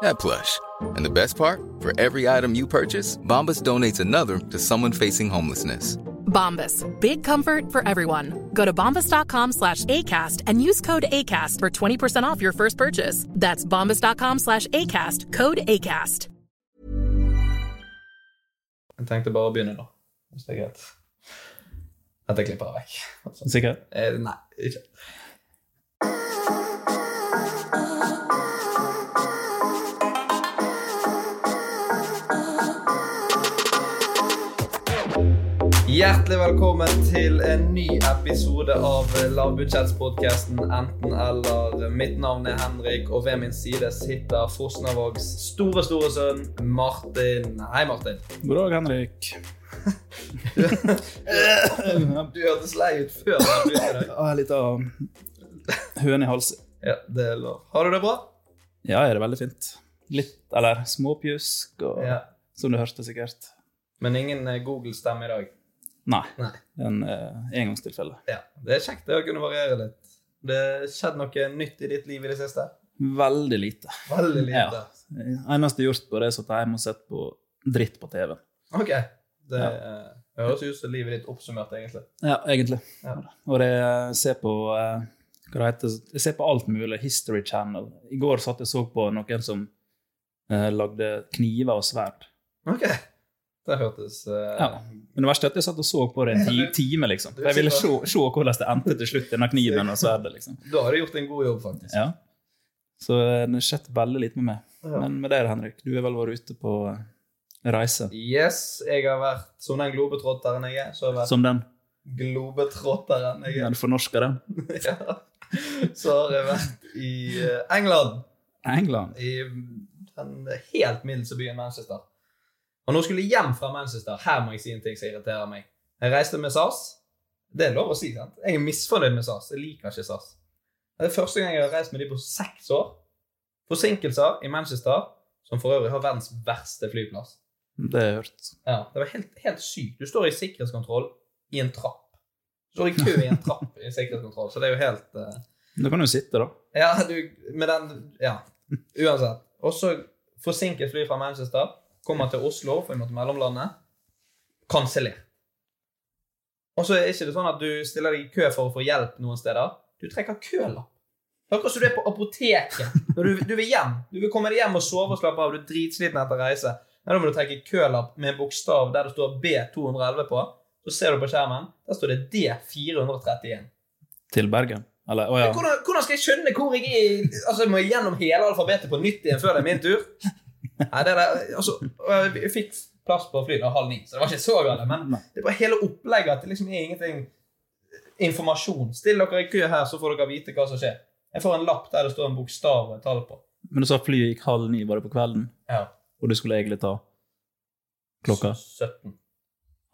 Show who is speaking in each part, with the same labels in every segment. Speaker 1: that plush. And the best part, for every item you purchase, Bombas donates another to someone facing homelessness.
Speaker 2: Bombas, big comfort for everyone. Go to bombas.com slash ACAST and use code ACAST for 20% off your first purchase. That's bombas.com slash ACAST, code ACAST.
Speaker 3: Jeg tenkte bare å begynne nå, hvis det er greit. Dette klipper jeg vekk. Altså.
Speaker 4: Sikker?
Speaker 3: Eh, nei, ikke. Hjertelig velkommen til en ny episode av Lavbudsjettspodkasten Enten eller. Mitt navn er Henrik, og ved min side sitter Fosnavågs store, store sønn Martin. Hei, Martin.
Speaker 4: God dag, Henrik.
Speaker 3: Du hørtes lei ut før. jeg begynte i dag.
Speaker 4: Jeg har litt av høne i halsen.
Speaker 3: Ja, det er lov. Har du det bra?
Speaker 4: Ja, er det veldig fint. Litt, eller småpjusk, og,
Speaker 3: Ja.
Speaker 4: som du hørte sikkert.
Speaker 3: Men ingen eh, Google-stemme i dag.
Speaker 4: Nei,
Speaker 3: Nei.
Speaker 4: en eh, engangstilfelle.
Speaker 3: Ja, Det er kjekt det å kunne variere litt. Det har skjedd noe nytt i ditt liv i det siste?
Speaker 4: Veldig lite.
Speaker 3: Veldig lite.
Speaker 4: Ja. Eneste jeg har gjort på det, er at jeg må sett på dritt på TV.
Speaker 3: Ok. Det eh, høres ut som livet ditt oppsummert, egentlig.
Speaker 4: Ja, egentlig.
Speaker 3: Ja.
Speaker 4: Og det jeg ser på eh, hva det heter, jeg ser på alt mulig. History Channel. I går satt jeg og så på noen som eh, lagde kniver og sverd.
Speaker 3: Ok. Det hørtes eh,
Speaker 4: Ja. Men det verste er at jeg satt og så på det en ti time. liksom. Jeg ville se, se hvordan det endte til slutt, denne kniven og sverdet. liksom.
Speaker 3: Da har du gjort en god jobb, faktisk.
Speaker 4: Ja. Så eh, det skjedde veldig lite med meg.
Speaker 3: Ja.
Speaker 4: Men med deg, Henrik, du har vel vært ute på eh, reise?
Speaker 3: Yes, jeg har vært som den globetrotteren jeg er. Så har jeg vært
Speaker 4: Som den?
Speaker 3: globetrotteren jeg
Speaker 4: Ja,
Speaker 3: er.
Speaker 4: du fornorsker den?
Speaker 3: Ja. Så har jeg vært i eh, England,
Speaker 4: England?
Speaker 3: i den helt mildeste byen Manchester. Og nå skulle jeg hjem fra Manchester. Her må jeg si en ting som irriterer meg. Jeg reiste med SAS. Det er lov å si, sant? Jeg er misfornøyd med SAS. Jeg liker ikke SAS. Det er første gang jeg har reist med de på seks år. Forsinkelser i Manchester, som for øvrig har verdens verste flyplass.
Speaker 4: Det har jeg hørt.
Speaker 3: Ja, det var helt, helt sykt. Du står i sikkerhetskontroll i en trapp. Du står i kø i en trapp i sikkerhetskontroll, så det er jo helt eh,
Speaker 4: Du kan jo sitte, da.
Speaker 3: Ja, du, med den Ja, uansett. Og så forsinket fly fra Manchester. Kommer til Oslo, for vi måtte mellomlande. Kanseller. Og så er ikke det sånn at du stiller deg i kø for å få hjelp noen steder. Du trekker kølapp. Det er akkurat som du er på apoteket. Når du, du vil hjem. Du vil komme deg hjem og sove og slappe av. Du er dritsliten etter reise. Nei, da må du trekke kølapp med en bokstav der det står B211 på. Så ser du på skjermen. Der står det D431.
Speaker 4: Til Bergen? Eller, å
Speaker 3: Men
Speaker 4: ja.
Speaker 3: Hvordan, hvordan skal jeg skjønne hvor jeg er i- Altså, jeg må gjennom hele alfabetet på nytt igjen før det er min tur? Nei, det der, altså, og jeg fikk plass på flyet da halv ni, så det var ikke så galt. Men
Speaker 4: Nei.
Speaker 3: det er bare hele opplegget at det liksom er ingenting informasjon. Still dere i kø her, så får dere vite hva som skjer. Jeg får en lapp der det står en bokstav og et tall på.
Speaker 4: Men du sa flyet gikk halv ni, var det på kvelden?
Speaker 3: Ja.
Speaker 4: Og du skulle egentlig ta klokka?
Speaker 3: 17.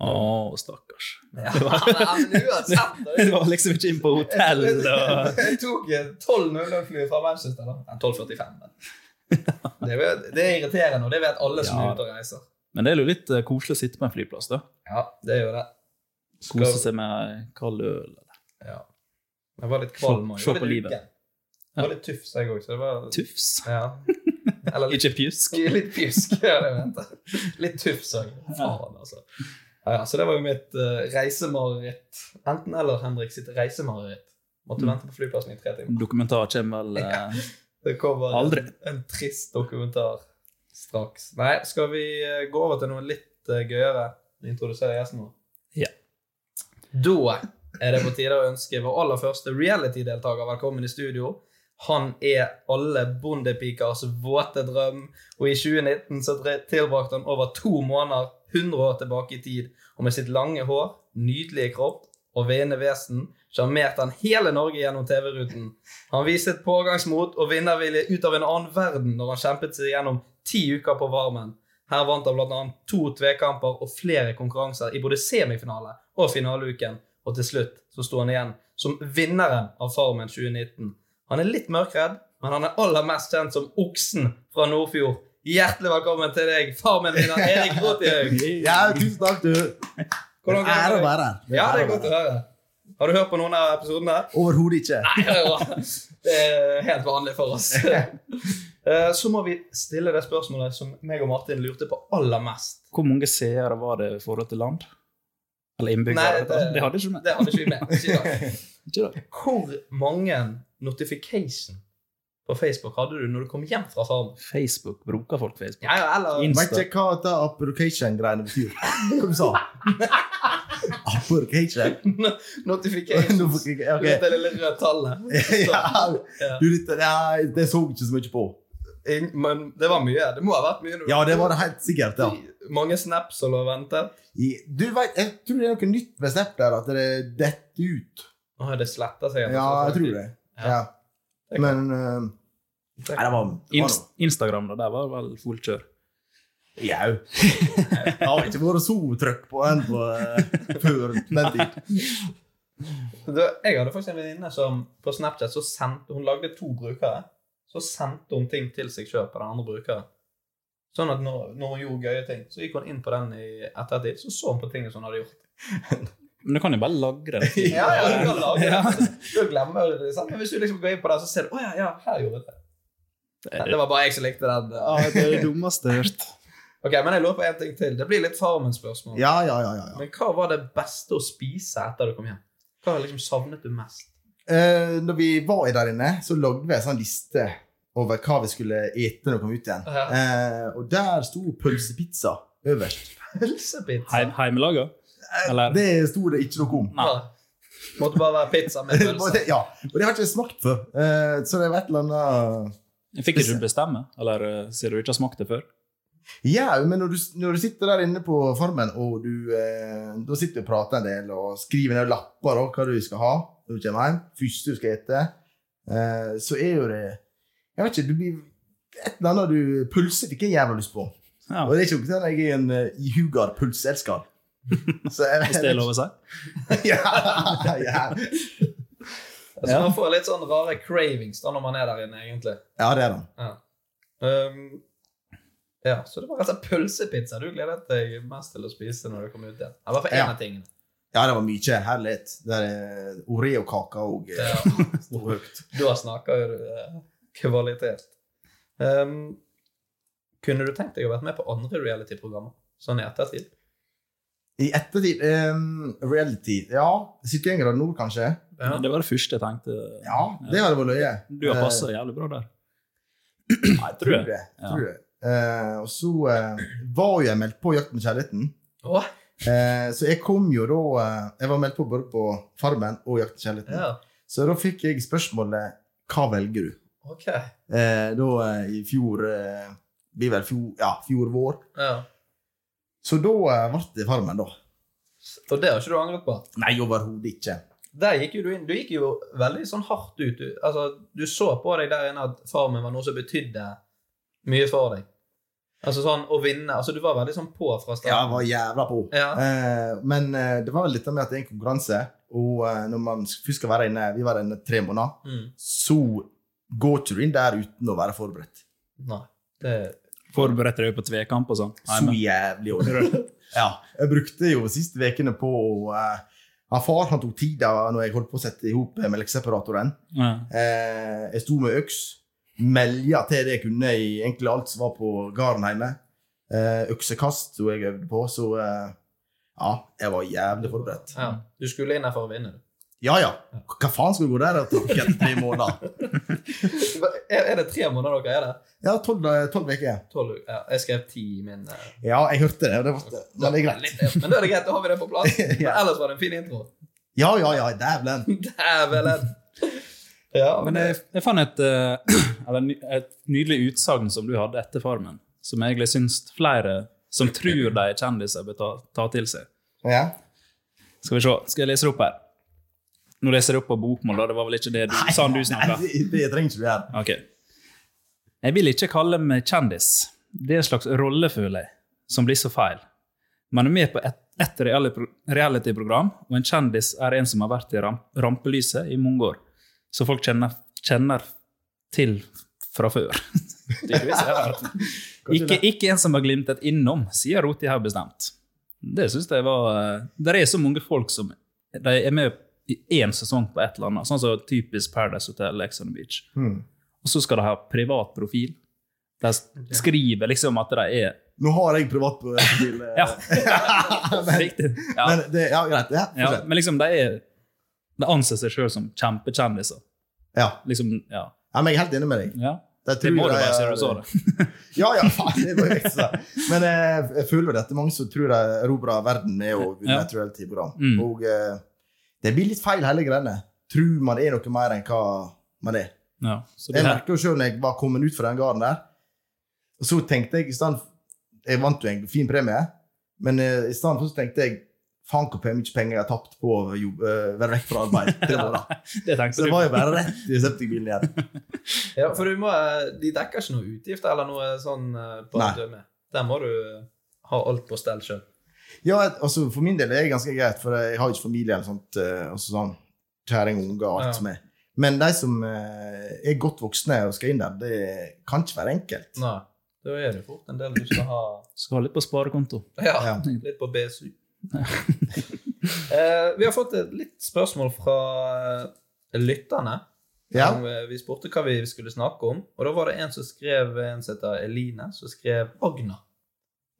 Speaker 4: Å, stakkars.
Speaker 3: Ja, men uansett da,
Speaker 4: Det var liksom ikke inn på hotell og
Speaker 3: Jeg tok 12.00-flyet fra Manchester. da. Ja, 12.45. men Det er, jo- det er irriterende, og det vet alle som
Speaker 4: Ja.
Speaker 3: er ute og reiser.
Speaker 4: Men det er jo litt eh, koselig å sitte på en flyplass, da.
Speaker 3: Ja, det er jo det.
Speaker 4: Kose seg med ei kald øl. eller
Speaker 3: Ja. Jeg var litt kvalm. og
Speaker 4: Se-
Speaker 3: jeg
Speaker 4: se
Speaker 3: var
Speaker 4: på
Speaker 3: litt
Speaker 4: livet.
Speaker 3: lykke. Jeg var litt tufs, jeg òg, så det var
Speaker 4: Tufs.
Speaker 3: Ja. Eller litt,
Speaker 4: Ikke pjusk.
Speaker 3: litt pjusk. Ja, det mente jeg. Litt tufs òg. Faen, altså. Ja, ja, så det var jo mitt eh, reisemareritt. Enten eller Henrik sitt reisemareritt. Måtte
Speaker 4: Mm.
Speaker 3: vente på flyplassen i tre timer.
Speaker 4: Dokumentar kommer vel eh,
Speaker 3: Det kommer
Speaker 4: Aldri.
Speaker 3: En, en trist dokumentar straks. Nei, skal vi eh, gå over til noe litt eh, gøyere? Introdusere gjesten vår?
Speaker 4: Ja.
Speaker 3: Da er det på tide å ønske vår aller første reality-deltaker velkommen i studio. Han er alle bondepikers våte drøm, og i 2019 så tre- tilbrakte han over to måneder 100 år tilbake i tid, og med sitt lange hår, nydelige kropp og veiende vesen sjarmerte han hele Norge gjennom TV-ruten. Han viste et pågangsmot og vinnervilje ut av en annen verden når han kjempet seg gjennom ti uker på varmen. Her vant han bl.a. to tvekamper og flere konkurranser i både semifinale og finaleuken. Og til slutt så sto han igjen som vinneren av Farmen 2019. Han er litt mørkredd, men han er aller mest kjent som Oksen fra Nordfjord. Hjertelig velkommen til deg, Farmen-vinner Erik Rotihaug.
Speaker 5: Ja, tusen takk, du. Det
Speaker 3: Hvordan
Speaker 5: er
Speaker 3: går det?
Speaker 5: ære å være her. Det
Speaker 3: Ja, det
Speaker 5: er ære
Speaker 3: er
Speaker 5: å
Speaker 3: godt å
Speaker 5: være her.
Speaker 3: høre. Har du hørt på noen av episodene?
Speaker 5: Overhodet ikke.
Speaker 3: Nei, det er bra. Det er helt vanlig for oss. Eh, Så må vi stille det spørsmålet som meg og Martin lurte på aller mest.
Speaker 4: Hvor mange seere var det i forhold til land? Eller innbyggere?
Speaker 3: Nei,
Speaker 4: det,
Speaker 3: det-
Speaker 4: det hadde ikke du med.
Speaker 3: Det hadde ikke vi med. ikke sant?
Speaker 4: Ikke det.
Speaker 3: Hvor mange notification på Facebook hadde du når du kom hjem fra farmen?
Speaker 4: Facebook. Bruker folk Facebook?
Speaker 3: Ja, ja, eller
Speaker 4: Insta.
Speaker 5: Vet ikke hva dette application-greiene betyr. Hva du sa du? Application?
Speaker 3: notifications.
Speaker 5: Nå fikk jeg- ok.
Speaker 3: Det lille røde tallet.
Speaker 5: Ja,
Speaker 3: Ja.
Speaker 5: du, dette, nei, det så jeg ikke så mye på.
Speaker 3: Ing- Men det var mye. Det må ha vært mye. når du-
Speaker 5: Ja, det var det helt sikkert, ja.
Speaker 3: Mange snaps som lå og ventet.
Speaker 5: I- Du vet, jeg tror det er noe nytt med Snap der, at det detter ut.
Speaker 3: Åh, det sletter seg.
Speaker 5: Ja, jeg tror det. Ja. Men eh, Nei, det var det var
Speaker 4: Inst Instagram, da. Der var det vel fullt kjør.
Speaker 5: noe. Jau. Det har ikke vært så trøkk på den på, eh, før den tid.
Speaker 3: Du, jeg hadde faktisk en venninne som på Snapchat så sendte, hun lagde to brukere. Så sendte hun ting til seg sjøl på den andre brukeren. Sånn at når, når hun gjorde gøye ting, så gikk hun inn på den i ettertid, så så hun på tingene som hun hadde gjort.
Speaker 4: Men du kan jo bare lagre det.
Speaker 3: Ja, ja, du kan lage det. Du glemmer det, sant? Men hvis du liksom går inn på den, så ser du Å ja, ja, her gjorde jeg det. Nei, Det var bare jeg som likte den.
Speaker 4: Ja, det er det dummeste jeg har hørt.
Speaker 3: Ok, Men jeg lurer på en ting til. Det blir litt Farmen-spørsmål.
Speaker 5: Ja, ja, ja. ja, ja.
Speaker 3: Men hva var det beste å spise etter du kom hjem? Hva liksom savnet du mest?
Speaker 5: Eh, når vi var i der inne, så lagde vi en sånn liste over hva vi skulle ete når vi kom ut igjen.
Speaker 3: Ja.
Speaker 5: Eh, og der sto pølsepizza øverst. Eh,
Speaker 3: Pølsepizza?
Speaker 4: Heim, heimelaga? Eller
Speaker 5: Det sto det ikke noe om.
Speaker 4: Nei.
Speaker 3: Ja. Måtte bare sånn. være pizza med pølse.
Speaker 5: ja, og det har ikke jeg smakt før. Eh, så det var et eller annet
Speaker 4: Fikk ikke du bestemme? Eller eh, sier du ikke har smakt det før?
Speaker 5: Ja, men når du, når du sitter der inne på farmen, og du eh, da sitter du og prater en del og skriver ned lapper og hva du skal ha når du kommer hjem, første du skal ete, eh, så er jo det Jeg vet ikke, du blir et eller annet du Pølse fikk jeg jævla lyst på.
Speaker 4: Ja,
Speaker 5: Og det er ikke noe sånn at jeg er en eh, ihugar pulselsker. Så jeg
Speaker 4: Hvis det er lov å si?
Speaker 5: ja, ja.
Speaker 3: Så man får litt sånn rare cravings da når man er der inne, egentlig.
Speaker 5: ja, det er det.
Speaker 3: Ja, um, ja så det var altså pølsepizza du gledet deg mest til å spise når du kom ut igjen. Ja, bare for én
Speaker 5: Ja.
Speaker 3: av tingene.
Speaker 5: Ja, det var mye herlighet. Det er eh, Oreo-kake og eh,
Speaker 3: Ja. da snakker jo du eh, kvalitet. Um, kunne du tenkt deg å vært med på andre reality-programmer sånn i ettertid?
Speaker 5: I ettertid eh, Reality. Ja, 71 grader nord, kanskje.
Speaker 3: Ja.
Speaker 4: Det var det første jeg tenkte.
Speaker 5: Ja, det hadde vært løye.
Speaker 4: Du har passa jævlig bra der.
Speaker 5: Eh, jeg tror det. jeg Tror det. Eh, og så eh, var jo jeg meldt på Jakt med kjærligheten.
Speaker 3: Åh,
Speaker 5: Eh, så jeg kom jo da eh, Jeg var meldt på både på Farmen og Jakt med kjærligheten.
Speaker 3: ja.
Speaker 5: Så da fikk jeg spørsmålet Hva velger du?
Speaker 3: Ok.
Speaker 5: Eh, da eh, i fjor eh, blir vel fjor, ja, fjor vår.
Speaker 3: Ja.
Speaker 5: Så da eh, ble det Farmen, da.
Speaker 3: Og det har ikke du angret på?
Speaker 5: Nei, overhodet ikke.
Speaker 3: Der gikk jo du inn. Du gikk jo veldig sånn hardt ut. Du, altså, du så på deg der inne at farmen var noe som betydde mye for deg. Altså sånn å vinne. Altså, du var veldig sånn på fra
Speaker 5: Jeg
Speaker 3: starten.
Speaker 5: var jævla på.
Speaker 3: Ja.
Speaker 5: Eh, men eh, det var vel dette med at det er en konkurranse, og eh, når man først skal være inne Vi var der inne tre måneder,
Speaker 3: Mm.
Speaker 5: så går ikke du inn der uten å være forberedt.
Speaker 3: Nei. Det
Speaker 4: Forberedte deg på tvekamp og sånn?
Speaker 5: Så jævlig ordentlig.
Speaker 3: Ja.
Speaker 5: Jeg brukte jo siste ukene på å eh, han Far han tok tida når jeg holdt på å sette i hop melkeseparatoren.
Speaker 4: Ja.
Speaker 5: Eh, jeg sto med øks, melja til det jeg kunne i egentlig alt som var på gården hjemme. Eh, øksekast som jeg øvde på, så eh, ja, jeg var jævlig forberedt.
Speaker 3: ja. Du skulle inn her for å vinne, du.
Speaker 5: Ja ja, hva faen skal du gå der og tråkke etter tre måneder?
Speaker 3: Er, er det tre måneder dere er der?
Speaker 5: Ja, tolv eh, tolv uker.
Speaker 3: Tolv uker? Ja, jeg skrev ti i min eh,
Speaker 5: Ja, jeg hørte det, og det var, men det er greit.
Speaker 3: Litt, ja. Men da er det greit, da har vi det på plass. Men
Speaker 5: Ja.
Speaker 3: ellers var det en fin intro.
Speaker 5: Ja ja ja, dævlen.
Speaker 3: Dævelen! Ja,
Speaker 4: Men jeg, jeg fant et, eh, eller, ny- et nydelig utsagn som du hadde etter Farmen, som jeg egentlig syns flere som tror de er kjendiser, bør ta, ta til seg.
Speaker 5: Ja.
Speaker 4: Skal vi se, skal jeg lese det opp her? Nå leser jeg opp på bokmål, da. Det var vel ikke det du, sånn du snakka?
Speaker 5: Nei, det, det trenger ikke du gjøre.
Speaker 4: Ok. Jeg vil ikke kalle meg kjendis. Det er en slags rolle, føler jeg, som blir så feil. Man er med på ett et reality-program, og en kjendis er en som har vært i ram rampelyset i mange år. Så folk kjenner, kjenner til fra før. Tydeligvis er det rart. ikke, ikke en som har glimtet innom, sier Roti her bestemt. Det synes jeg var eh, Det er så mange folk som de er med i én sesong på et eller annet. Sånn som typisk Paradise Hotel, Ex on the Beach.
Speaker 5: Hmm.
Speaker 4: Og så skal de ha privat profil. De s- skriver liksom at de er
Speaker 5: Nå har jeg privat på bil. eh,
Speaker 4: Ja,
Speaker 5: men,
Speaker 4: riktig. Ja,
Speaker 5: men det, ja, greit. Ja,
Speaker 4: ja,
Speaker 5: fortsett.
Speaker 4: men liksom de er De anser seg sjøl som kjempekjendiser.
Speaker 5: ja.
Speaker 4: Liksom, ja.
Speaker 5: ja, men jeg er helt enig med deg.
Speaker 4: ja.
Speaker 5: Det,
Speaker 4: Det
Speaker 5: tror
Speaker 4: må du
Speaker 5: jeg
Speaker 4: bare si
Speaker 5: er-
Speaker 4: når du så det.
Speaker 5: Ja, ja, faen, det var jo ekstra. Men eh, jeg føler det at det er mange som tror de erobrer verden med å vinne
Speaker 4: Ja.
Speaker 5: et reality-program.
Speaker 4: Mm.
Speaker 5: Og eh, det blir litt feil, hele greiene. Tror man er noe mer enn hva man er.
Speaker 4: Ja, så det
Speaker 5: Jeg
Speaker 4: her,
Speaker 5: merker jo selv når jeg var kommet ut fra den gården der, og så tenkte jeg i stedet Jeg vant jo en fin premie, men eh, i stedet for så tenkte jeg faen hvor mye penger jeg har tapt på å jobb- eh, være vekk fra arbeid. Tre måneder.
Speaker 4: det tenkte
Speaker 5: Så
Speaker 4: du
Speaker 5: det var jo
Speaker 4: på.
Speaker 5: bare rett i septikbilen igjen.
Speaker 3: ja, for du må, eh, de dekker ikke noe utgifter eller noe sånn eh, på
Speaker 5: Nei.
Speaker 3: Nei. dømme. Der må du eh, ha alt på stell sjøl.
Speaker 5: Ja, altså For min del er det ganske greit, for jeg har jo ikke familie eller sånt. eh, Altså sånn kjæring og unger og
Speaker 3: Ja.
Speaker 5: alt som er. Men de som eh, er godt voksne og skal inn der, det kan ikke være enkelt.
Speaker 3: Nei. Da er det fort en del du skal ha
Speaker 4: Skal ha litt på sparekonto.
Speaker 3: Ja,
Speaker 5: Ja.
Speaker 3: litt på BSU. eh, vi har fått et litt spørsmål fra eh, lytterne.
Speaker 5: Ja.
Speaker 3: Om, eh, vi spurte hva vi skulle snakke om, og da var det en som skrev en som heter Eline, som skrev Agna.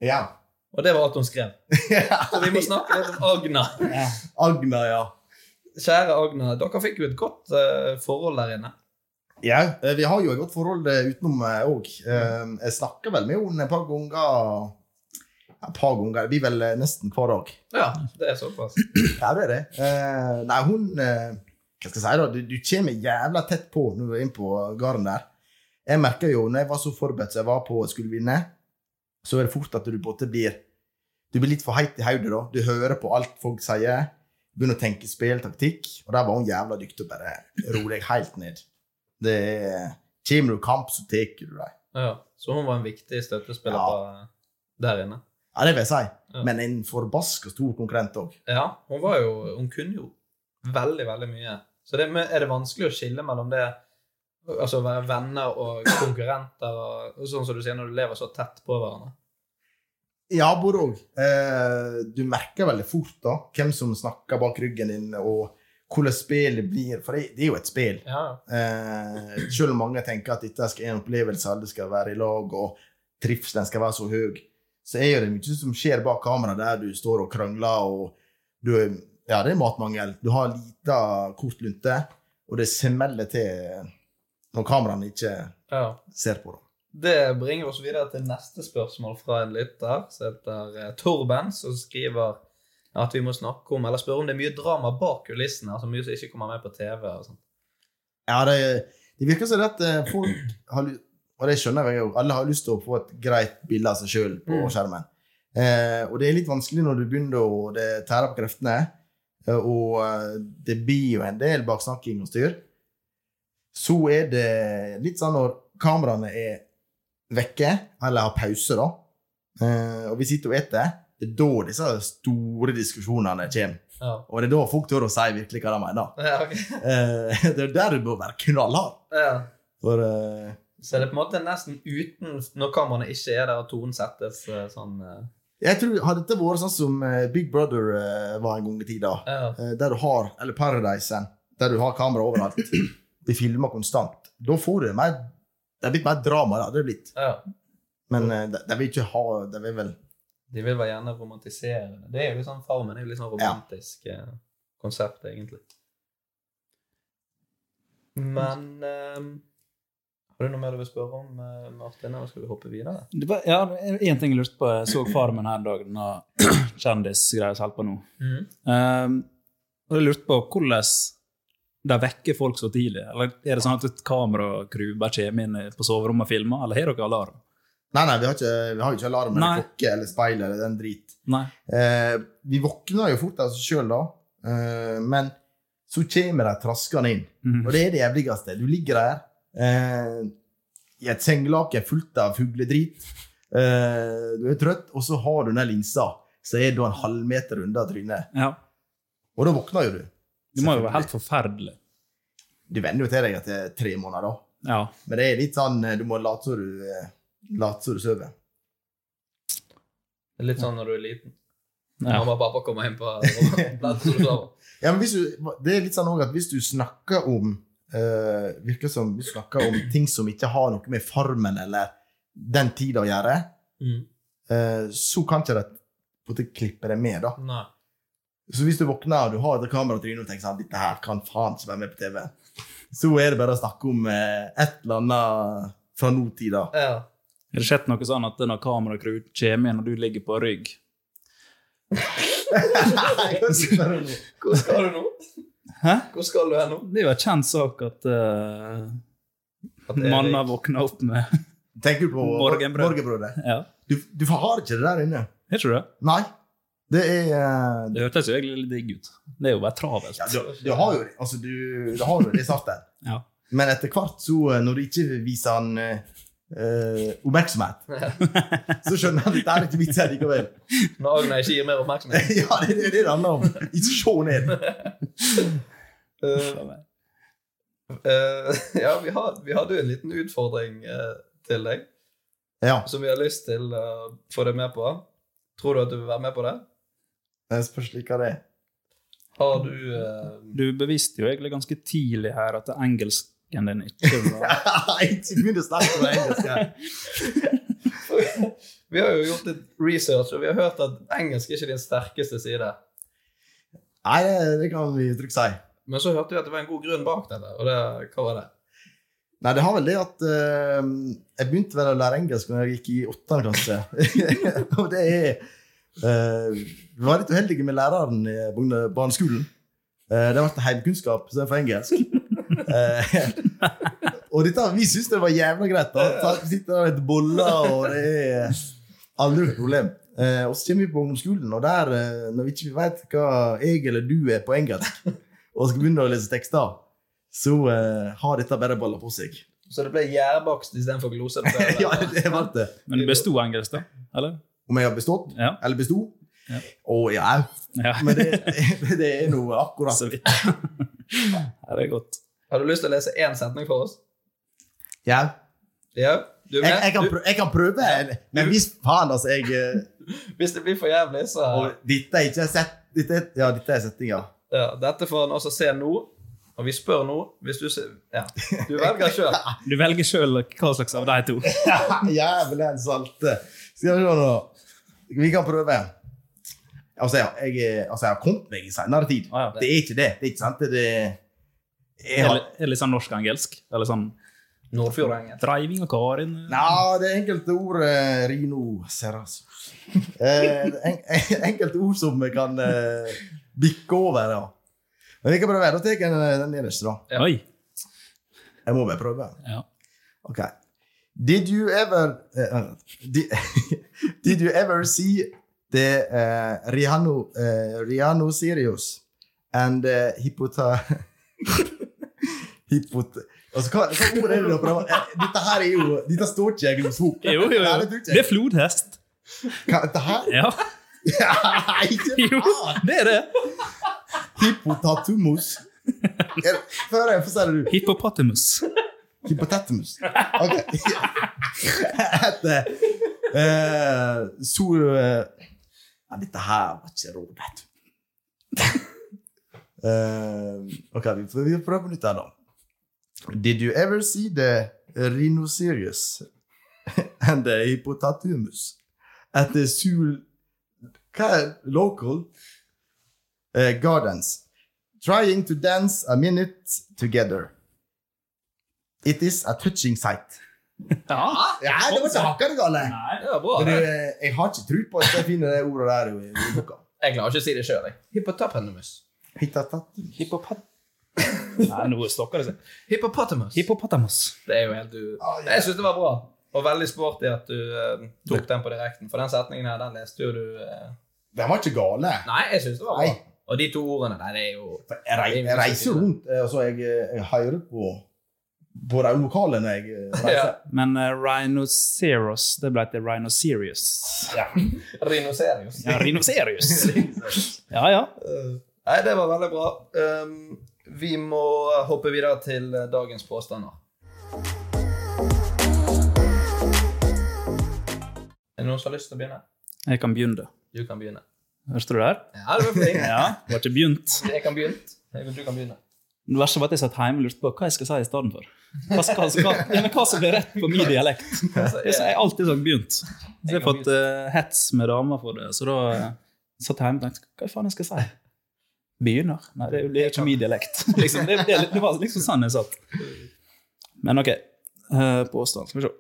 Speaker 5: Ja.
Speaker 3: Og det var alt hun skrev. Så vi må snakke litt om Agna.
Speaker 5: Agna, ja.
Speaker 3: Kjære Agna, dere fikk jo et godt eh, forhold der inne.
Speaker 5: Ja, eh, vi har jo et godt forhold eh, utenom òg. Jeg snakker vel med henne et par ganger. Ja, Et par ganger. Det blir vel eh, nesten hver dag.
Speaker 3: Ja, det er såpass.
Speaker 5: Ja, det er det. Eh, Nei, hun eh, Hva skal jeg si, da? Du, du kommer jævla tett på når du er inne på gården der. Jeg merker jo, når jeg var så forberedt som jeg var på å skulle vinne, så er det fort at du på en måte blir Du blir litt for heit i hodet, da. Du hører på alt folk sier. Begynner å tenke spill, taktikk. Og der var hun jævla dyktig og bare ro deg helt ned. Det er Kommer du i kamp, så tar du deg.
Speaker 3: Ja, så hun var en viktig støttespiller
Speaker 5: Ja.
Speaker 3: på- eh, der inne.
Speaker 5: Ja, det vil jeg si.
Speaker 3: Ja.
Speaker 5: Men en forbaska stor konkurrent òg.
Speaker 3: Ja, hun var jo Hun kunne jo veldig, veldig mye. Så det, men er det vanskelig å skille mellom det Altså å være venner og konkurrenter og, og sånn som du sier, når du lever så tett på hverandre.
Speaker 5: Ja, både òg. Eh, du merker veldig fort da, hvem som snakker bak ryggen din, og hvordan spillet blir. For det, det er jo et spill.
Speaker 3: Ja,
Speaker 5: Eh, selv om mange tenker at dette skal være en opplevelse, alle skal være i lag, og trivselen skal være så høy, så er jo det mye som skjer bak kamera, der du står og krangler, og du, ja, det er matmangel. Du har lita kort lunte, og det smeller til når kameraene ikke
Speaker 3: ja.
Speaker 5: ser på. Da.
Speaker 3: Det bringer oss videre til neste spørsmål fra en lytter som heter eh, Torben, som skriver at vi må snakke om, eller spørre om det er mye drama bak kulissene. altså Mye som ikke kommer med på TV. og sånt.
Speaker 5: Ja, det, det virker som det at eh, folk har ly- Og det skjønner jeg jo. Alle har lyst til å få et greit bilde av seg sjøl på
Speaker 3: Mm.
Speaker 5: skjermen. Eh, og det er litt vanskelig når du begynner å det tære på kreftene, eh, og eh, det blir jo en del baksnakking og styr. Så er det litt sånn når kameraene er vekke, eller har pause, da, eh, og vi sitter og eter, det er da disse store diskusjonene kommer.
Speaker 3: Ja.
Speaker 5: Og det er da folk tør å si virkelig hva de mener.
Speaker 3: Ja, ok.
Speaker 5: Eh, det er der du bør være knallhard.
Speaker 3: ja.
Speaker 5: For eh,
Speaker 3: Så det er på en måte nesten uten når kameraene ikke er der og tonen settes eh, sånn eh,
Speaker 5: Jeg tror Hadde dette vært sånn som eh, Big Brother eh, var en gang i tida,
Speaker 3: Ja.
Speaker 5: eh, der du har Eller Paradise, der du har kamera overalt, de filmer konstant, da får du mer Det er blitt mer drama, da. Det er blitt.
Speaker 3: ja.
Speaker 5: Men eh, de de vil ikke ha De vil vel
Speaker 3: De vil bare gjerne romantisere det. Det er jo litt sånn Farmen er jo litt sånn romantisk eh, konsept, egentlig. Men eh, Har du noe mer du vil spørre om, eh, Martin? Eller skal vi hoppe videre?
Speaker 4: Det var, ja, en ting jeg lurte på. Jeg så Farmen her en dag, denne kjendisgreia som holder på nå.
Speaker 5: Mhm.
Speaker 4: Ehm, og jeg lurte på hvordan de vekker folk så tidlig. Eller er det sånn at et kameracrew bare kommer inn på soverommet og filmer, eller har dere alarm?
Speaker 5: Nei, nei, vi har ikke, vi har jo ikke alarm eller
Speaker 4: Nei.
Speaker 5: klokke eller speil eller den drit.
Speaker 4: Nei.
Speaker 5: Eh, vi våkner jo fort av oss sjøl da, eh, men så kommer de traskende inn.
Speaker 4: Mhm.
Speaker 5: Og det er det jævligste. Du ligger der eh, i et sengelaken fullt av fugledrit. Eh, du er trøtt, og så har du den der linsa, så er du en halvmeter unna trynet.
Speaker 4: Ja.
Speaker 5: Og da våkner jo du.
Speaker 4: Det må jo være helt forferdelig.
Speaker 5: Du venner jo til deg etter tre måneder, da.
Speaker 4: Ja.
Speaker 5: Men det er litt sånn eh, Du må late som du, eh, late som du sover.
Speaker 3: Det er litt sånn når du er liten.
Speaker 4: ja.
Speaker 3: Mamma og pappa kommer inn på rommet. Later som du sover.
Speaker 5: Ja, men hvis du, det er litt sånn også at hvis du snakker om eh, virker som hvis du snakker om ting som ikke har noe med farmen eller den tida å gjøre,
Speaker 3: Mm.
Speaker 5: eh, så kan ikke de på en måte klippe det med. da.
Speaker 3: Nei.
Speaker 5: Så hvis du våkner og du har et kameratryne og tenker sånn, dette her kan faen ikke være med på TV, så er det bare å snakke om eh, et eller annet fra nåtida.
Speaker 3: Ja.
Speaker 4: Har det skjedd noe sånn at når kameracrew kommer inn, og du ligger på rygg
Speaker 5: ja,
Speaker 3: Hvor skal du nå?
Speaker 4: Hæ?
Speaker 3: Hvor skal du hen nå?
Speaker 4: Det er jo en kjent sak at uh, mannen har våkna opp med
Speaker 5: Tenker du på
Speaker 4: Morgenbrød.
Speaker 5: morgenbrødet?
Speaker 4: Ja,
Speaker 5: Du, du har ikke det der inne.
Speaker 4: er ikke det?
Speaker 5: Nei. Det er eh,
Speaker 4: Det hørtes jo egentlig litt digg ut. Det er jo bare travelt.
Speaker 5: Ja, du, du har jo altså, du, du har jo det i starten.
Speaker 4: Ja.
Speaker 5: Men etter hvert, så, eh, når du ikke viser han eh, eh, oppmerksomhet, så skjønner han at dette er ikke vits her likevel.
Speaker 3: Når Agna ikke gir mer oppmerksomhet.
Speaker 5: ja, det er det det handler om. Ikke se ned.
Speaker 3: Eh, eh, ja, vi, har, vi hadde jo en liten utfordring eh, til deg
Speaker 5: Ja,
Speaker 3: som vi har lyst til å få deg med på. Tror du at du vil være med på det?
Speaker 5: det spørs like det. er.
Speaker 3: Har du eh,
Speaker 4: Du beviste jo egentlig ganske tidlig her at engelsken din ikke var
Speaker 5: ikke begynn å snakke om det engelske.
Speaker 3: Vi har jo gjort litt research, og vi har hørt at engelsk er ikke din sterkeste side.
Speaker 5: Nei, det, det kan vi trygt si.
Speaker 3: Men så hørte vi at det var en god grunn bak dette, og det, hva var det?
Speaker 5: Nei, det har vel det at eh, Jeg begynte vel å lære engelsk når jeg gikk i åttende klasse. og det er eh, Vi var litt uheldige med læreren i barne- barneskolen. Eh, det ble heimkunnskap istedenfor engelsk. Eh, og dette, vi syntes det var jævla greit. da. Så Vi sitter der og heter boller, og det er aldri noe problem. Eh, og så kommer vi på ungdomsskolen, og der, eh, når vi ikke vet hva jeg eller du er på engelsk, og skal begynne å lese tekster, så eh, har dette bare balla på seg.
Speaker 3: Så det ble gjærbakst istedenfor glose? det ble-
Speaker 5: ja, det ble det.
Speaker 4: Men du besto engelsk, da? Eller?
Speaker 5: Om jeg har bestått?
Speaker 4: Ja.
Speaker 5: Eller besto?
Speaker 4: Ja.
Speaker 5: Å ja.
Speaker 4: ja.
Speaker 5: Men det, det er noe akkurat.
Speaker 4: Så vidt. Ja, det er godt.
Speaker 3: Har du lyst til å lese én setning for oss?
Speaker 5: Ja.
Speaker 3: Ja, du er
Speaker 5: Jeg,
Speaker 3: med?
Speaker 5: jeg, kan
Speaker 3: Du-
Speaker 5: prøve, jeg kan prøve, men hvis faen, altså jeg eh,
Speaker 3: Hvis det blir for jævlig, så
Speaker 5: og Dette er ikke sett... Dette, er- ja, dette er settinga.
Speaker 3: ja, Dette får han også se nå. Og vi spør nå hvis du ser Ja, du velger sjøl.
Speaker 4: Du velger sjøl hva slags av de to.
Speaker 5: Jævlig salte. Skal vi se nå. Vi kan prøve. Altså, jeg, jeg, er- altså, jeg har kommet meg i senere tid.
Speaker 4: Ah, ja.
Speaker 5: Det er ikke det. Det er ikke sant. Det, det, jeg
Speaker 4: Er
Speaker 5: har,
Speaker 4: det er det litt sånn norsk-engelsk? Eller sånn
Speaker 3: Nordfjordengen.
Speaker 4: driving og Karin?
Speaker 5: Ja, det er enkelte ord eh, Rino Serras. Eh, en, en, enkelte ord som kan eh, bikke over, ja. Men vi kan prøve. Da tar jeg den, den nederste, da.
Speaker 3: Ja.
Speaker 4: Oi.
Speaker 5: Jeg må bare prøve.
Speaker 4: Ja.
Speaker 5: Ok. Did you ever eh, did, did you ever see the eh, Rihanna eh, Rihanna Sirius and uh, Hippota Hippot... Altså, hva, hva ord er det du prøver? Eh, Dette her er jo Dette står ikke jeg hos henne.
Speaker 4: Jo, jo,
Speaker 5: Nei,
Speaker 4: jo.
Speaker 5: det tror
Speaker 4: Det
Speaker 5: ikke
Speaker 4: er
Speaker 5: jeg.
Speaker 4: flodhest.
Speaker 5: Hva, Dette her?
Speaker 4: Ja,
Speaker 5: Nei, ikke
Speaker 4: jo, Ah, det er det.
Speaker 5: Hippotatumus. Er det- Før jeg får si det, du.
Speaker 4: Hippopotamus.
Speaker 5: Hypotetemus. Ok. Etter eh, Så eh, ja, Dette her var ikke råd, vet du. Eh, E, ok, vi, får- vi prøver på nytt her, da. Did you ever see the rhinoceros and the hypotetemus at the Sul... Hva er local eh, gardens? Trying to dance a minute together. It is a touching sight.
Speaker 3: Ah,
Speaker 4: Ja.
Speaker 5: Ja, det var ikke hakkende gale.
Speaker 4: Nei.
Speaker 3: sånn, Det var bra.
Speaker 5: Men du,
Speaker 3: det.
Speaker 5: eh, jeg har ikke tro på at jeg finner det ordet der i i boka.
Speaker 3: Jeg klarer ikke å si det sjøl. Hippotapenumus.
Speaker 5: Hittatatum.
Speaker 4: Hippopat... Nei, nå stokker det seg.
Speaker 3: Hippopotamus.
Speaker 4: Hippopotamus.
Speaker 3: det er jo helt u...
Speaker 5: Ah, ja.
Speaker 3: Jeg syns det var bra. Og veldig sporty at du eh, tok den på direkten. For den setningen her, den leste jo du eh,
Speaker 5: Den var ikke gale.
Speaker 3: Nei, jeg syns det var bra.
Speaker 5: Nei.
Speaker 3: Og de to ordene der, det er jo
Speaker 5: Jeg, rei, jeg reiser rundt, eh, altså jeg, eh, jeg hører på, på de lokale når jeg eh, reiser.
Speaker 4: Men eh, rhinoceros, det ble til rhinoceros.
Speaker 5: Ja.
Speaker 3: Rhinoserius.
Speaker 4: Ja, rhinoceros. ja, ja.
Speaker 3: Eh, Nei, det var veldig bra. Um, vi må hoppe videre til eh, dagens påstander. Er det noen som har lyst til å begynne?
Speaker 4: Jeg kan begynne.
Speaker 3: Du kan begynne.
Speaker 4: Hørte du der?
Speaker 3: Ja, det var flink.
Speaker 4: Ja, det var ikke begynt.
Speaker 3: Jeg kan begynne. Jeg- Du kan begynne.
Speaker 4: Det verste var at jeg satt hjemme og lurte på hva jeg skal si i stedet for. Hva, skal, hva, ja, men hva som blir rett på min dialekt.
Speaker 3: Altså,
Speaker 4: Jeg har alltid sånn begynt. Så jeg har
Speaker 3: kan
Speaker 4: fått eh, hets med damer for det, så da eh, satt jeg hjemme og tenkte hva faen jeg skal si? Begynner? Nei, det er jo det er ikke min dialekt. liksom, det, det, det var liksom sånn jeg satt. Men ok, eh, påstand. Skal vi se.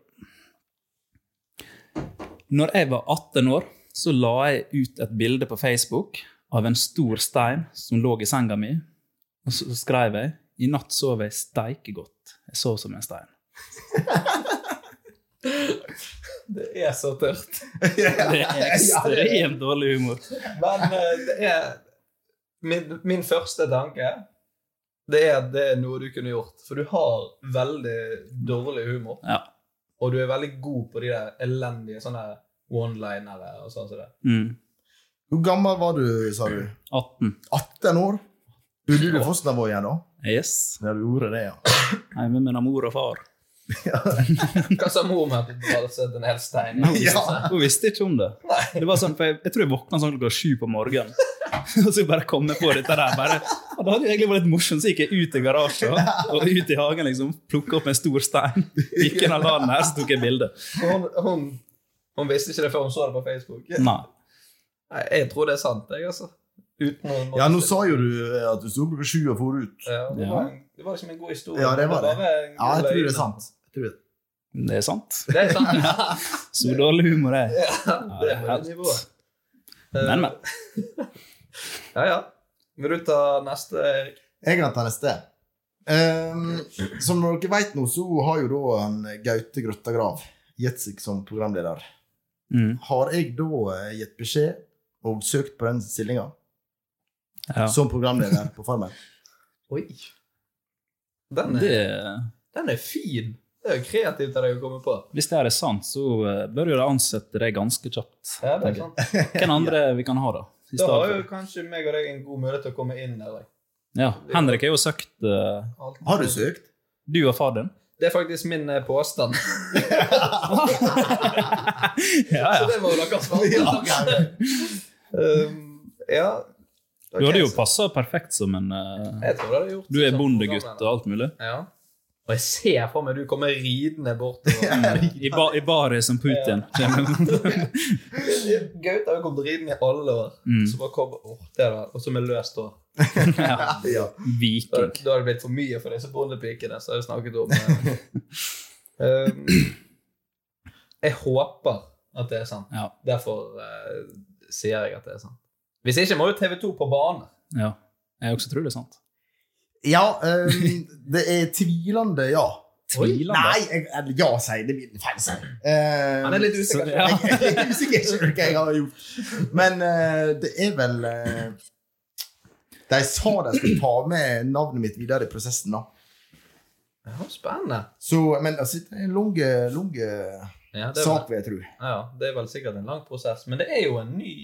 Speaker 4: Når jeg var 18 år, så la jeg ut et bilde på Facebook av en stor stein som lå i senga mi, og så skrev jeg i natt sov jeg steike godt. Jeg sov som en stein.
Speaker 3: Det er så tørt.
Speaker 4: Det er ekstremt dårlig humor.
Speaker 3: Men eh, det er min, min første tanke det er at det er noe du kunne gjort. For du har veldig dårlig humor,
Speaker 4: Ja.
Speaker 3: og du er veldig god på de der elendige sånne one-linere og sånn som det.
Speaker 4: Mm.
Speaker 5: Hvor gammel var du, sa du?
Speaker 4: 18.
Speaker 5: 18 år? Burde du fostervåg igjen da?
Speaker 4: Yes.
Speaker 5: Ja, du gjorde det, ja.
Speaker 4: Hjemme med mor og far.
Speaker 3: Hva sa mor med at du bare satte en hel stein?
Speaker 4: Hun
Speaker 3: i?
Speaker 4: visste, hun visste ikke om det. Det var sånn, for jeg, jeg tror jeg våkna sånn klokka sju på morgenen. Og så bare kom jeg på dette der. bare, og Det hadde jo egentlig vært litt morsomt, så gikk jeg ut i garasjen og ut i hagen. liksom, Plukka opp en stor stein, gikk inn og la den der, så tok jeg bilde.
Speaker 3: Hun, hun, hun visste ikke det før hun så det på Facebook.
Speaker 5: Mm.
Speaker 4: Nei.
Speaker 3: Nei, jeg tror det er sant, jeg, altså. Uten noen
Speaker 5: Ja, nå sa jo du eh, at du sto klokka sju og for ut.
Speaker 3: ja, det,
Speaker 4: Ja.
Speaker 3: var en, det var liksom en god historie.
Speaker 5: Ja, det var det.
Speaker 3: var bare en
Speaker 5: Ja, jeg
Speaker 3: god
Speaker 5: tror det
Speaker 3: løgn.
Speaker 5: er sant. Jeg tror det.
Speaker 4: Det er sant.
Speaker 3: Det er sant.
Speaker 4: Så dårlig humor er jeg.
Speaker 3: Ja, det er
Speaker 4: helt-
Speaker 3: helt nivået. Eh,
Speaker 4: Men, men.
Speaker 3: Ja, ja. Vil du ta neste, Erik?
Speaker 5: Jeg kan ta neste. Ehm, som dere vet nå, så har jo da han Gaute Grøtta Grav gitt seg som programleder.
Speaker 4: Mm.
Speaker 5: Har jeg da eh, gitt beskjed og søkt på den stillinga
Speaker 4: Ja.
Speaker 5: som programleder på Farmen?
Speaker 3: Oi. Den
Speaker 4: Mm.
Speaker 3: er,
Speaker 4: Det,
Speaker 3: den er fin. Det er jo kreativt av deg å komme på.
Speaker 4: hvis det her er sant, så eh, bør jo de ansette deg ganske kjapt.
Speaker 3: Ja, det er sant.
Speaker 4: Hvem andre vi kan ha, da? i
Speaker 3: Da har
Speaker 4: stedet
Speaker 3: jo
Speaker 4: for?
Speaker 3: kanskje meg og deg en god mulighet til å komme inn der.
Speaker 4: Ja, Henrik har jo søkt eh,
Speaker 3: Alt.
Speaker 5: Har du søkt?
Speaker 4: Du og far din?
Speaker 3: Det er faktisk min eh, påstand.
Speaker 4: Ja,
Speaker 3: Så det må dere svare på. Um, ja.
Speaker 4: Du hadde jo
Speaker 3: Ok, så-
Speaker 4: passa perfekt som en eh,
Speaker 3: Jeg tror det hadde gjort sånn
Speaker 4: Du er
Speaker 3: som
Speaker 4: bondegutt og
Speaker 3: programleder.
Speaker 4: alt mulig.
Speaker 3: Ja. Og jeg ser for meg du kommer ridende bortover.
Speaker 4: I, ba, i baret som Putin.
Speaker 3: Gaute har jo kommet ridende i alle år.
Speaker 4: Mm.
Speaker 3: Så bare kom, åh, det er det, og så med løst hår.
Speaker 4: ja.
Speaker 5: Ja.
Speaker 3: Da da
Speaker 4: Viking.
Speaker 3: har det blitt for mye for disse bondepikene som jeg snakket om. Um, jeg håper at det er sant.
Speaker 4: Ja.
Speaker 3: Derfor eh, sier jeg at det er sant. Hvis ikke må jo TV2 på banen.
Speaker 4: ja. Jeg også tror det er sant.
Speaker 5: ja ehm, det er tvilende ja.
Speaker 4: Tvilende?
Speaker 5: Nei, jeg, eller ja, sier det blir feil. sier jeg. Ehm,
Speaker 3: Han er litt usikker.
Speaker 4: Ja.
Speaker 5: jeg, jeg er usikker på hva jeg har gjort. Men eh, det er vel eh, De sa de skulle ta med navnet mitt videre i prosessen, da.
Speaker 3: Ja, spennende.
Speaker 5: Så, men altså, det er en lang lang, eh,
Speaker 3: Ja det, er
Speaker 5: sak,
Speaker 3: vel,
Speaker 5: vil jeg tro.
Speaker 3: ja, det er vel sikkert en lang prosess, men det er jo en ny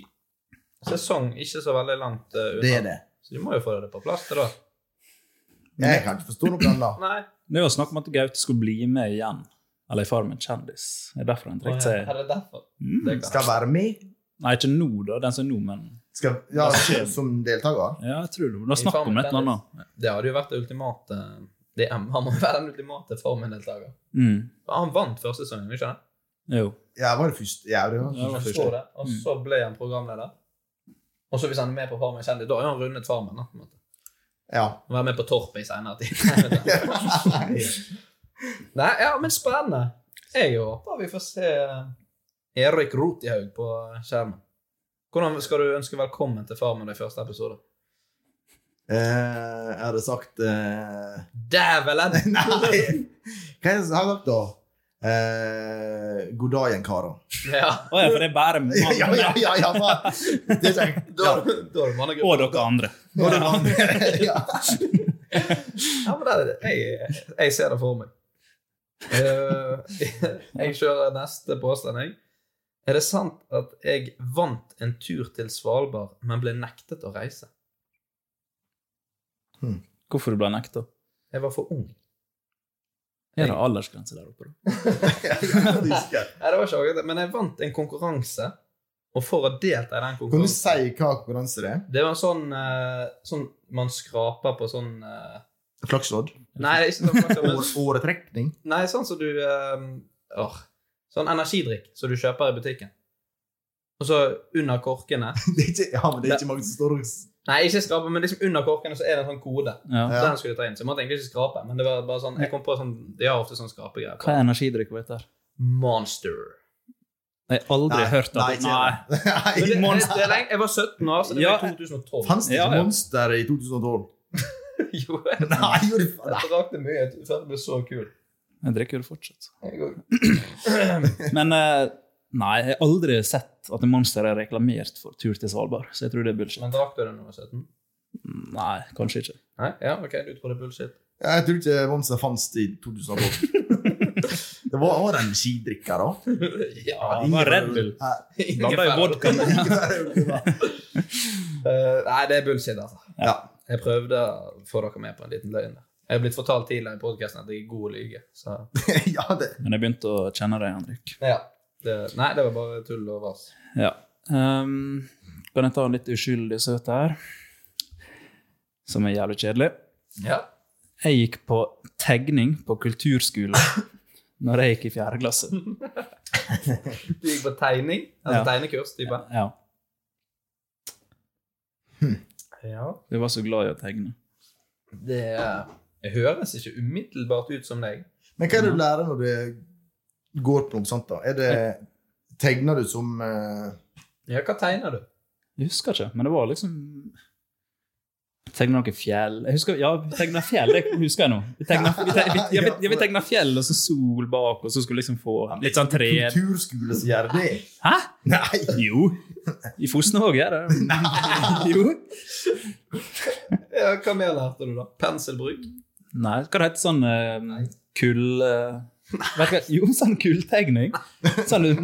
Speaker 3: sesong ikke så veldig langt eh, unna.
Speaker 5: Det er det.
Speaker 3: Så de må jo få det på plass til, da.
Speaker 5: Jeg kan ikke forstå noe annet.
Speaker 3: Nei.
Speaker 4: Det var snakk om at Gaute skulle bli med igjen. Eller i Farmen kjendis. Det er derfor han
Speaker 3: Å,
Speaker 4: trekker
Speaker 3: ja,
Speaker 4: seg.
Speaker 3: Er det derfor? Det kan-
Speaker 5: Skal være med.
Speaker 4: Nei, ikke nå, da. Den som er nå, men
Speaker 5: Skal, ja, som deltaker.
Speaker 4: Ja, jeg tror det. Det var snakk om et eller annet.
Speaker 3: Det hadde jo vært det ultimate det, er- Han må være den ultimate Farmen-deltaker.
Speaker 4: Mm.
Speaker 3: Han vant første sesongen, ikke sant?
Speaker 4: Jo.
Speaker 5: Jeg var det første. Mm. Ja, det
Speaker 4: Ja, det
Speaker 5: var.
Speaker 4: var
Speaker 3: Jeg
Speaker 4: første.
Speaker 3: forstår det. Og så ble han programleder. Og så hvis han er med på Farmen kjendis, da har jo han rundet Farmen. da, på en måte.
Speaker 5: Ja.
Speaker 3: Han var med på Torpet i senere tid. Nei, ja, men spennende. Jeg håper vi får se Erik Rotihaug på skjermen. Hvordan skal du ønske velkommen til Farmen i første episode?
Speaker 5: Eh, jeg hadde sagt eh,
Speaker 3: Dævelen!
Speaker 5: Nei! Hva er det jeg har sagt, da? Eh, God dagen, karer.
Speaker 3: Ja,
Speaker 4: Å ja, for det er bare
Speaker 5: Ja,
Speaker 4: mannen
Speaker 5: ja, ja! ja, ja faen. det er ikke
Speaker 3: da,
Speaker 5: ja.
Speaker 3: da er det mannegruppe.
Speaker 4: og dere andre.
Speaker 5: Nå er det noen andre. ja.
Speaker 3: Ja, men det er det. Jeg, jeg ser det for meg. Eh, jeg kjører neste påstand, jeg. Er det sant at jeg vant en tur til Svalbard, men ble nektet å reise?
Speaker 4: Hvorfor du ble nekta?
Speaker 3: Jeg var for ung.
Speaker 4: Er det aldersgrense der oppe, da?
Speaker 3: Nei, det var ikke akkurat det, men jeg vant en konkurranse. Og for å delta i den
Speaker 5: Kan du
Speaker 3: konkurransen
Speaker 5: si hva konkurranse det er?
Speaker 3: Det var sånn, eh, sånn man skraper på sånn eh,
Speaker 5: Flakslodd?
Speaker 3: Nei, det er ikke sånn flaks, men,
Speaker 5: Åretrekning?
Speaker 3: nei, sånn som du eh, åh, Sånn energidrikk som du kjøper i butikken. Og så under korkene
Speaker 5: Det er ikke, ja, men det er ikke mange som står og
Speaker 3: Nei, ikke skrape, men liksom under korkene så er det en sånn kode.
Speaker 4: Ja.
Speaker 5: Ja.
Speaker 3: Den skulle jeg ta inn, så jeg måtte egentlig ikke skrape. Men det var bare sånn, jeg kom på sånn, de har ofte sånn skrapegreier.
Speaker 4: Hva er energidrikk på dette? her?
Speaker 3: Monster.
Speaker 4: Jeg har aldri hørt
Speaker 5: Nei,
Speaker 4: at Nei.
Speaker 5: ikke det.
Speaker 3: Men det,
Speaker 5: Nei.
Speaker 3: det, det er lenge, jeg var 17 år, så det
Speaker 4: Ja.
Speaker 3: var i 2012.
Speaker 5: Fantes det
Speaker 4: Ja,
Speaker 5: ikke
Speaker 4: ja.
Speaker 5: Monster i 2012?
Speaker 3: jo, jeg,
Speaker 5: Nei, jo, det faen.
Speaker 3: jeg drakk det mye jeg før det ble så kul.
Speaker 4: Jeg drikker jo det fortsatt.
Speaker 3: Jeg går-
Speaker 4: Men eh, nei, jeg har aldri sett at en monster er reklamert for tur til Svalbard, så jeg tror det er bullshit.
Speaker 3: Men drakk du det når du var 17?
Speaker 4: Nei, kanskje ikke.
Speaker 3: Nei? Ja, ok, du tror det er bullshit.
Speaker 5: Ja, Jeg tror ikke Monster fantes i 2012. det var, var det en skidrikker, da.
Speaker 3: ja.
Speaker 4: det var Red Bull.
Speaker 5: Nei,
Speaker 4: Blanda i vodka.
Speaker 3: Eh, nei, det er bullshit, altså.
Speaker 5: Ja.
Speaker 3: Jeg prøvde å få dere med på en liten løgn. der. Jeg er blitt fortalt tidligere i podcasten at jeg er god å lyge, så...
Speaker 5: ja, det.
Speaker 4: Men jeg begynte å kjenne deg, Henrik.
Speaker 3: Ja. Det, nei, det var bare tull og vas.
Speaker 4: Ja. Ehm, kan jeg ta en litt uskyldig søt her, som er jævlig kjedelig?
Speaker 3: Ja.
Speaker 4: Jeg gikk på tegning på kulturskole når jeg gikk i fjerde klasse.
Speaker 3: Du gikk på tegning? Altså
Speaker 4: Ja.
Speaker 3: tegnekurs, type?
Speaker 4: Ja,
Speaker 3: Ja.
Speaker 4: Jeg var så glad i å tegne.
Speaker 3: Det eh, høres ikke umiddelbart ut som deg.
Speaker 5: Men hva er det du lærer når du går på noe sånt, da? Er det Tegner du som eh,
Speaker 3: Ja, hva tegner du?
Speaker 4: Jeg husker ikke, men det var liksom Tegna noen fjell jeg husker, Ja, vi tegna fjell, det husker jeg nå. Vi tegna, vi tegna, vi, ja, vi, ja, vi tegna fjell, og så sol bak, og så skulle vi liksom få litt sånn tre
Speaker 5: kulturskole som gjør det?
Speaker 4: Hæ?
Speaker 5: Nei!
Speaker 4: Jo. I Fosnavåg er det Jo.
Speaker 3: Ja, hva mer lærte du, da? Penselbruk?
Speaker 4: Nei, skal det hete sånn eh, kull... eh, vet du hva? Jo, sånn kulltegning. Sånn, du,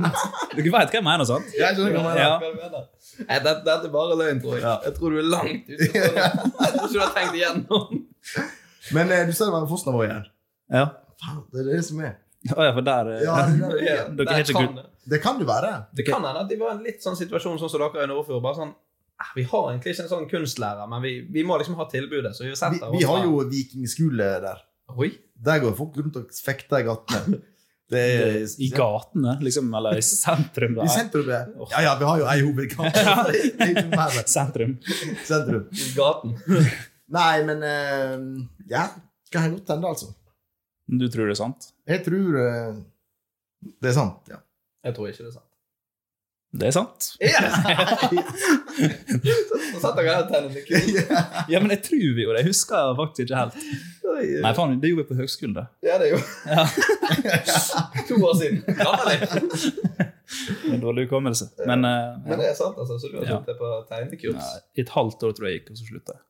Speaker 4: du vet hva jeg mener, sant?
Speaker 5: Jeg skjønner hva du mener.
Speaker 4: Ja.
Speaker 3: Hva du mener? Nei, det- Dette er bare løgn, tror jeg. Jeg tror du er langt ute. på det. Jeg tror ikke du har tenkt igjennom.
Speaker 5: Men eh, du sa det var en Fosnavåg her.
Speaker 4: Ja.
Speaker 5: Faen, Det er det som er.
Speaker 4: Å ja, for der eh,
Speaker 5: Ja, det, er det.
Speaker 3: Ja,
Speaker 4: Dere
Speaker 3: der
Speaker 4: er ikke
Speaker 3: kan
Speaker 4: gutt.
Speaker 3: det.
Speaker 5: det kan det være.
Speaker 3: Det kan hende at de var i en litt sånn situasjon sånn som dere i Nordfjord. Bare sånn eh, Vi har egentlig ikke en sånn kunstlærer, men vi, vi må liksom ha tilbudet. Så vi
Speaker 5: Vi,
Speaker 3: setter
Speaker 5: vi har jo vikingskole der.
Speaker 3: Oi.
Speaker 5: Der går folk rundt og fekter i gatene. Det er
Speaker 4: I gatene, liksom, eller i sentrum
Speaker 5: I
Speaker 4: der.
Speaker 5: sentrum, ja. Ja, ja, vi har jo ei hovedkamp. Det er ikke mer enn
Speaker 4: Sentrum.
Speaker 5: sentrum.
Speaker 3: I gaten.
Speaker 5: Nei, men eh, Ja, kan jeg godt hende, altså.
Speaker 4: Du tror det er sant?
Speaker 5: Jeg tror eh, det er sant, ja.
Speaker 3: Jeg tror ikke det er sant.
Speaker 4: Det er sant.
Speaker 3: Så satt dere her og tegnet litt kult.
Speaker 4: Ja, men jeg tror jo det. Jeg husker faktisk ikke helt. Nei, faen, det gjorde vi på høgskolen, det.
Speaker 3: Ja, det er jo
Speaker 4: Ja.
Speaker 3: to år siden. Gammel.
Speaker 4: En Dårlig hukommelse. Men eh,
Speaker 3: Men det er sant, altså. Så du har
Speaker 4: Ja.
Speaker 3: tatt det på tegnekurs.
Speaker 4: ja, i et halvt år tror jeg jeg gikk, og så slutta jeg.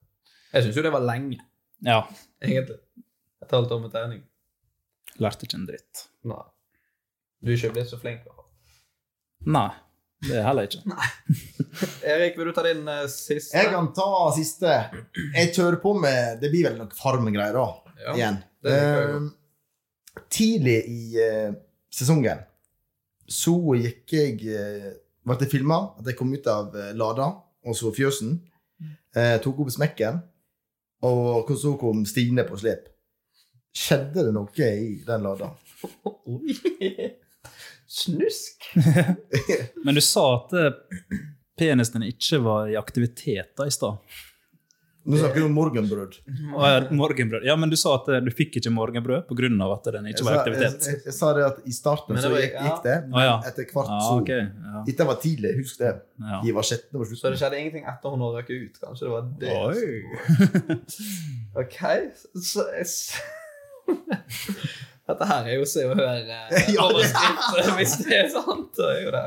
Speaker 3: Jeg syns jo det var lenge,
Speaker 4: Ja.
Speaker 3: egentlig. Et halvt år med tegning.
Speaker 4: Lærte ikke en dritt.
Speaker 3: Nei. Du er ikke blitt så flink, i hvert fall.
Speaker 4: Nei. Det er heller ikke.
Speaker 3: Erik, vil du ta din eh, siste?
Speaker 5: Jeg kan ta siste. Jeg kjører på med Det blir vel noe farmgreier, da.
Speaker 3: Ja,
Speaker 5: igjen.
Speaker 3: det liker jeg
Speaker 5: Eh, tidlig i eh, sesongen så gikk jeg uh, Ble det filma at jeg kom ut av eh, Lada, og så fjøsen. eh, tok opp smekken, og så kom Stine på slep. Skjedde det noe i den Lada?
Speaker 3: Oi. Snusk!
Speaker 4: Men du sa at eh, penisen din ikke var i aktivitet da i stad.
Speaker 5: Nå snakker vi om morgenbrød.
Speaker 4: Og, eh, Morgenbrød. Ja, men du sa at eh, du fikk ikke morgenbrød pga. at den ikke var i
Speaker 5: jeg,
Speaker 4: aktivitet.
Speaker 5: jeg, jeg sa det at i starten
Speaker 3: Men det
Speaker 5: så
Speaker 3: var-
Speaker 5: gikk,
Speaker 3: ja.
Speaker 5: gikk det, men
Speaker 4: Å, ja.
Speaker 5: etter hvert
Speaker 4: Ja,
Speaker 5: så
Speaker 4: ok. Ja.
Speaker 5: Dette var tidlig, husk det.
Speaker 4: Ja.
Speaker 5: De var sjette
Speaker 3: Så
Speaker 5: på
Speaker 3: det
Speaker 5: slutten.
Speaker 3: skjedde ingenting etter hun har røket ut? Kanskje det var det? Ok, så s- Dette her er jo Se og Hør eh,
Speaker 5: Ja, det-
Speaker 3: overskrift, hvis det er sant. så er jo det.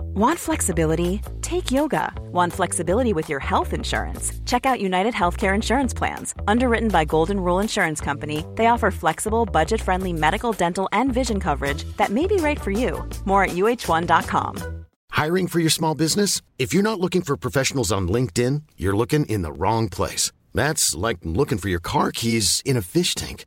Speaker 6: Want flexibility? Take yoga. Want flexibility with your health insurance? Check out United Healthcare Insurance Plans. Underwritten by Golden Rule Insurance Company, they offer flexible, budget friendly medical, dental, and vision coverage that may be right for you. More at uh1.com.
Speaker 7: Hiring for your small business? If you're not looking for professionals on LinkedIn, you're looking in the wrong place. That's like looking for your car keys in a fish tank.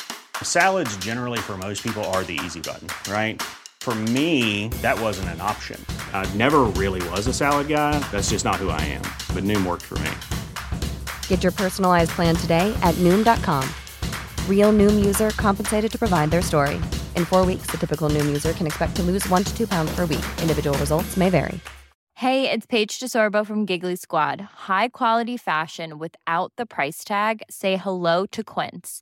Speaker 8: Salads, generally, for most people, are the easy button, right? For me, that wasn't an option. I never really was a salad guy. That's just not who I am. But Noom worked for me.
Speaker 9: Get your personalized plan today at Noom.com. Real Noom user compensated to provide their story. In four weeks, the typical Noom user can expect to lose one to two pounds per week. Individual results may vary.
Speaker 6: Hey, it's Paige DeSorbo from Giggly Squad. High quality fashion without the price tag. Say hello to Quince.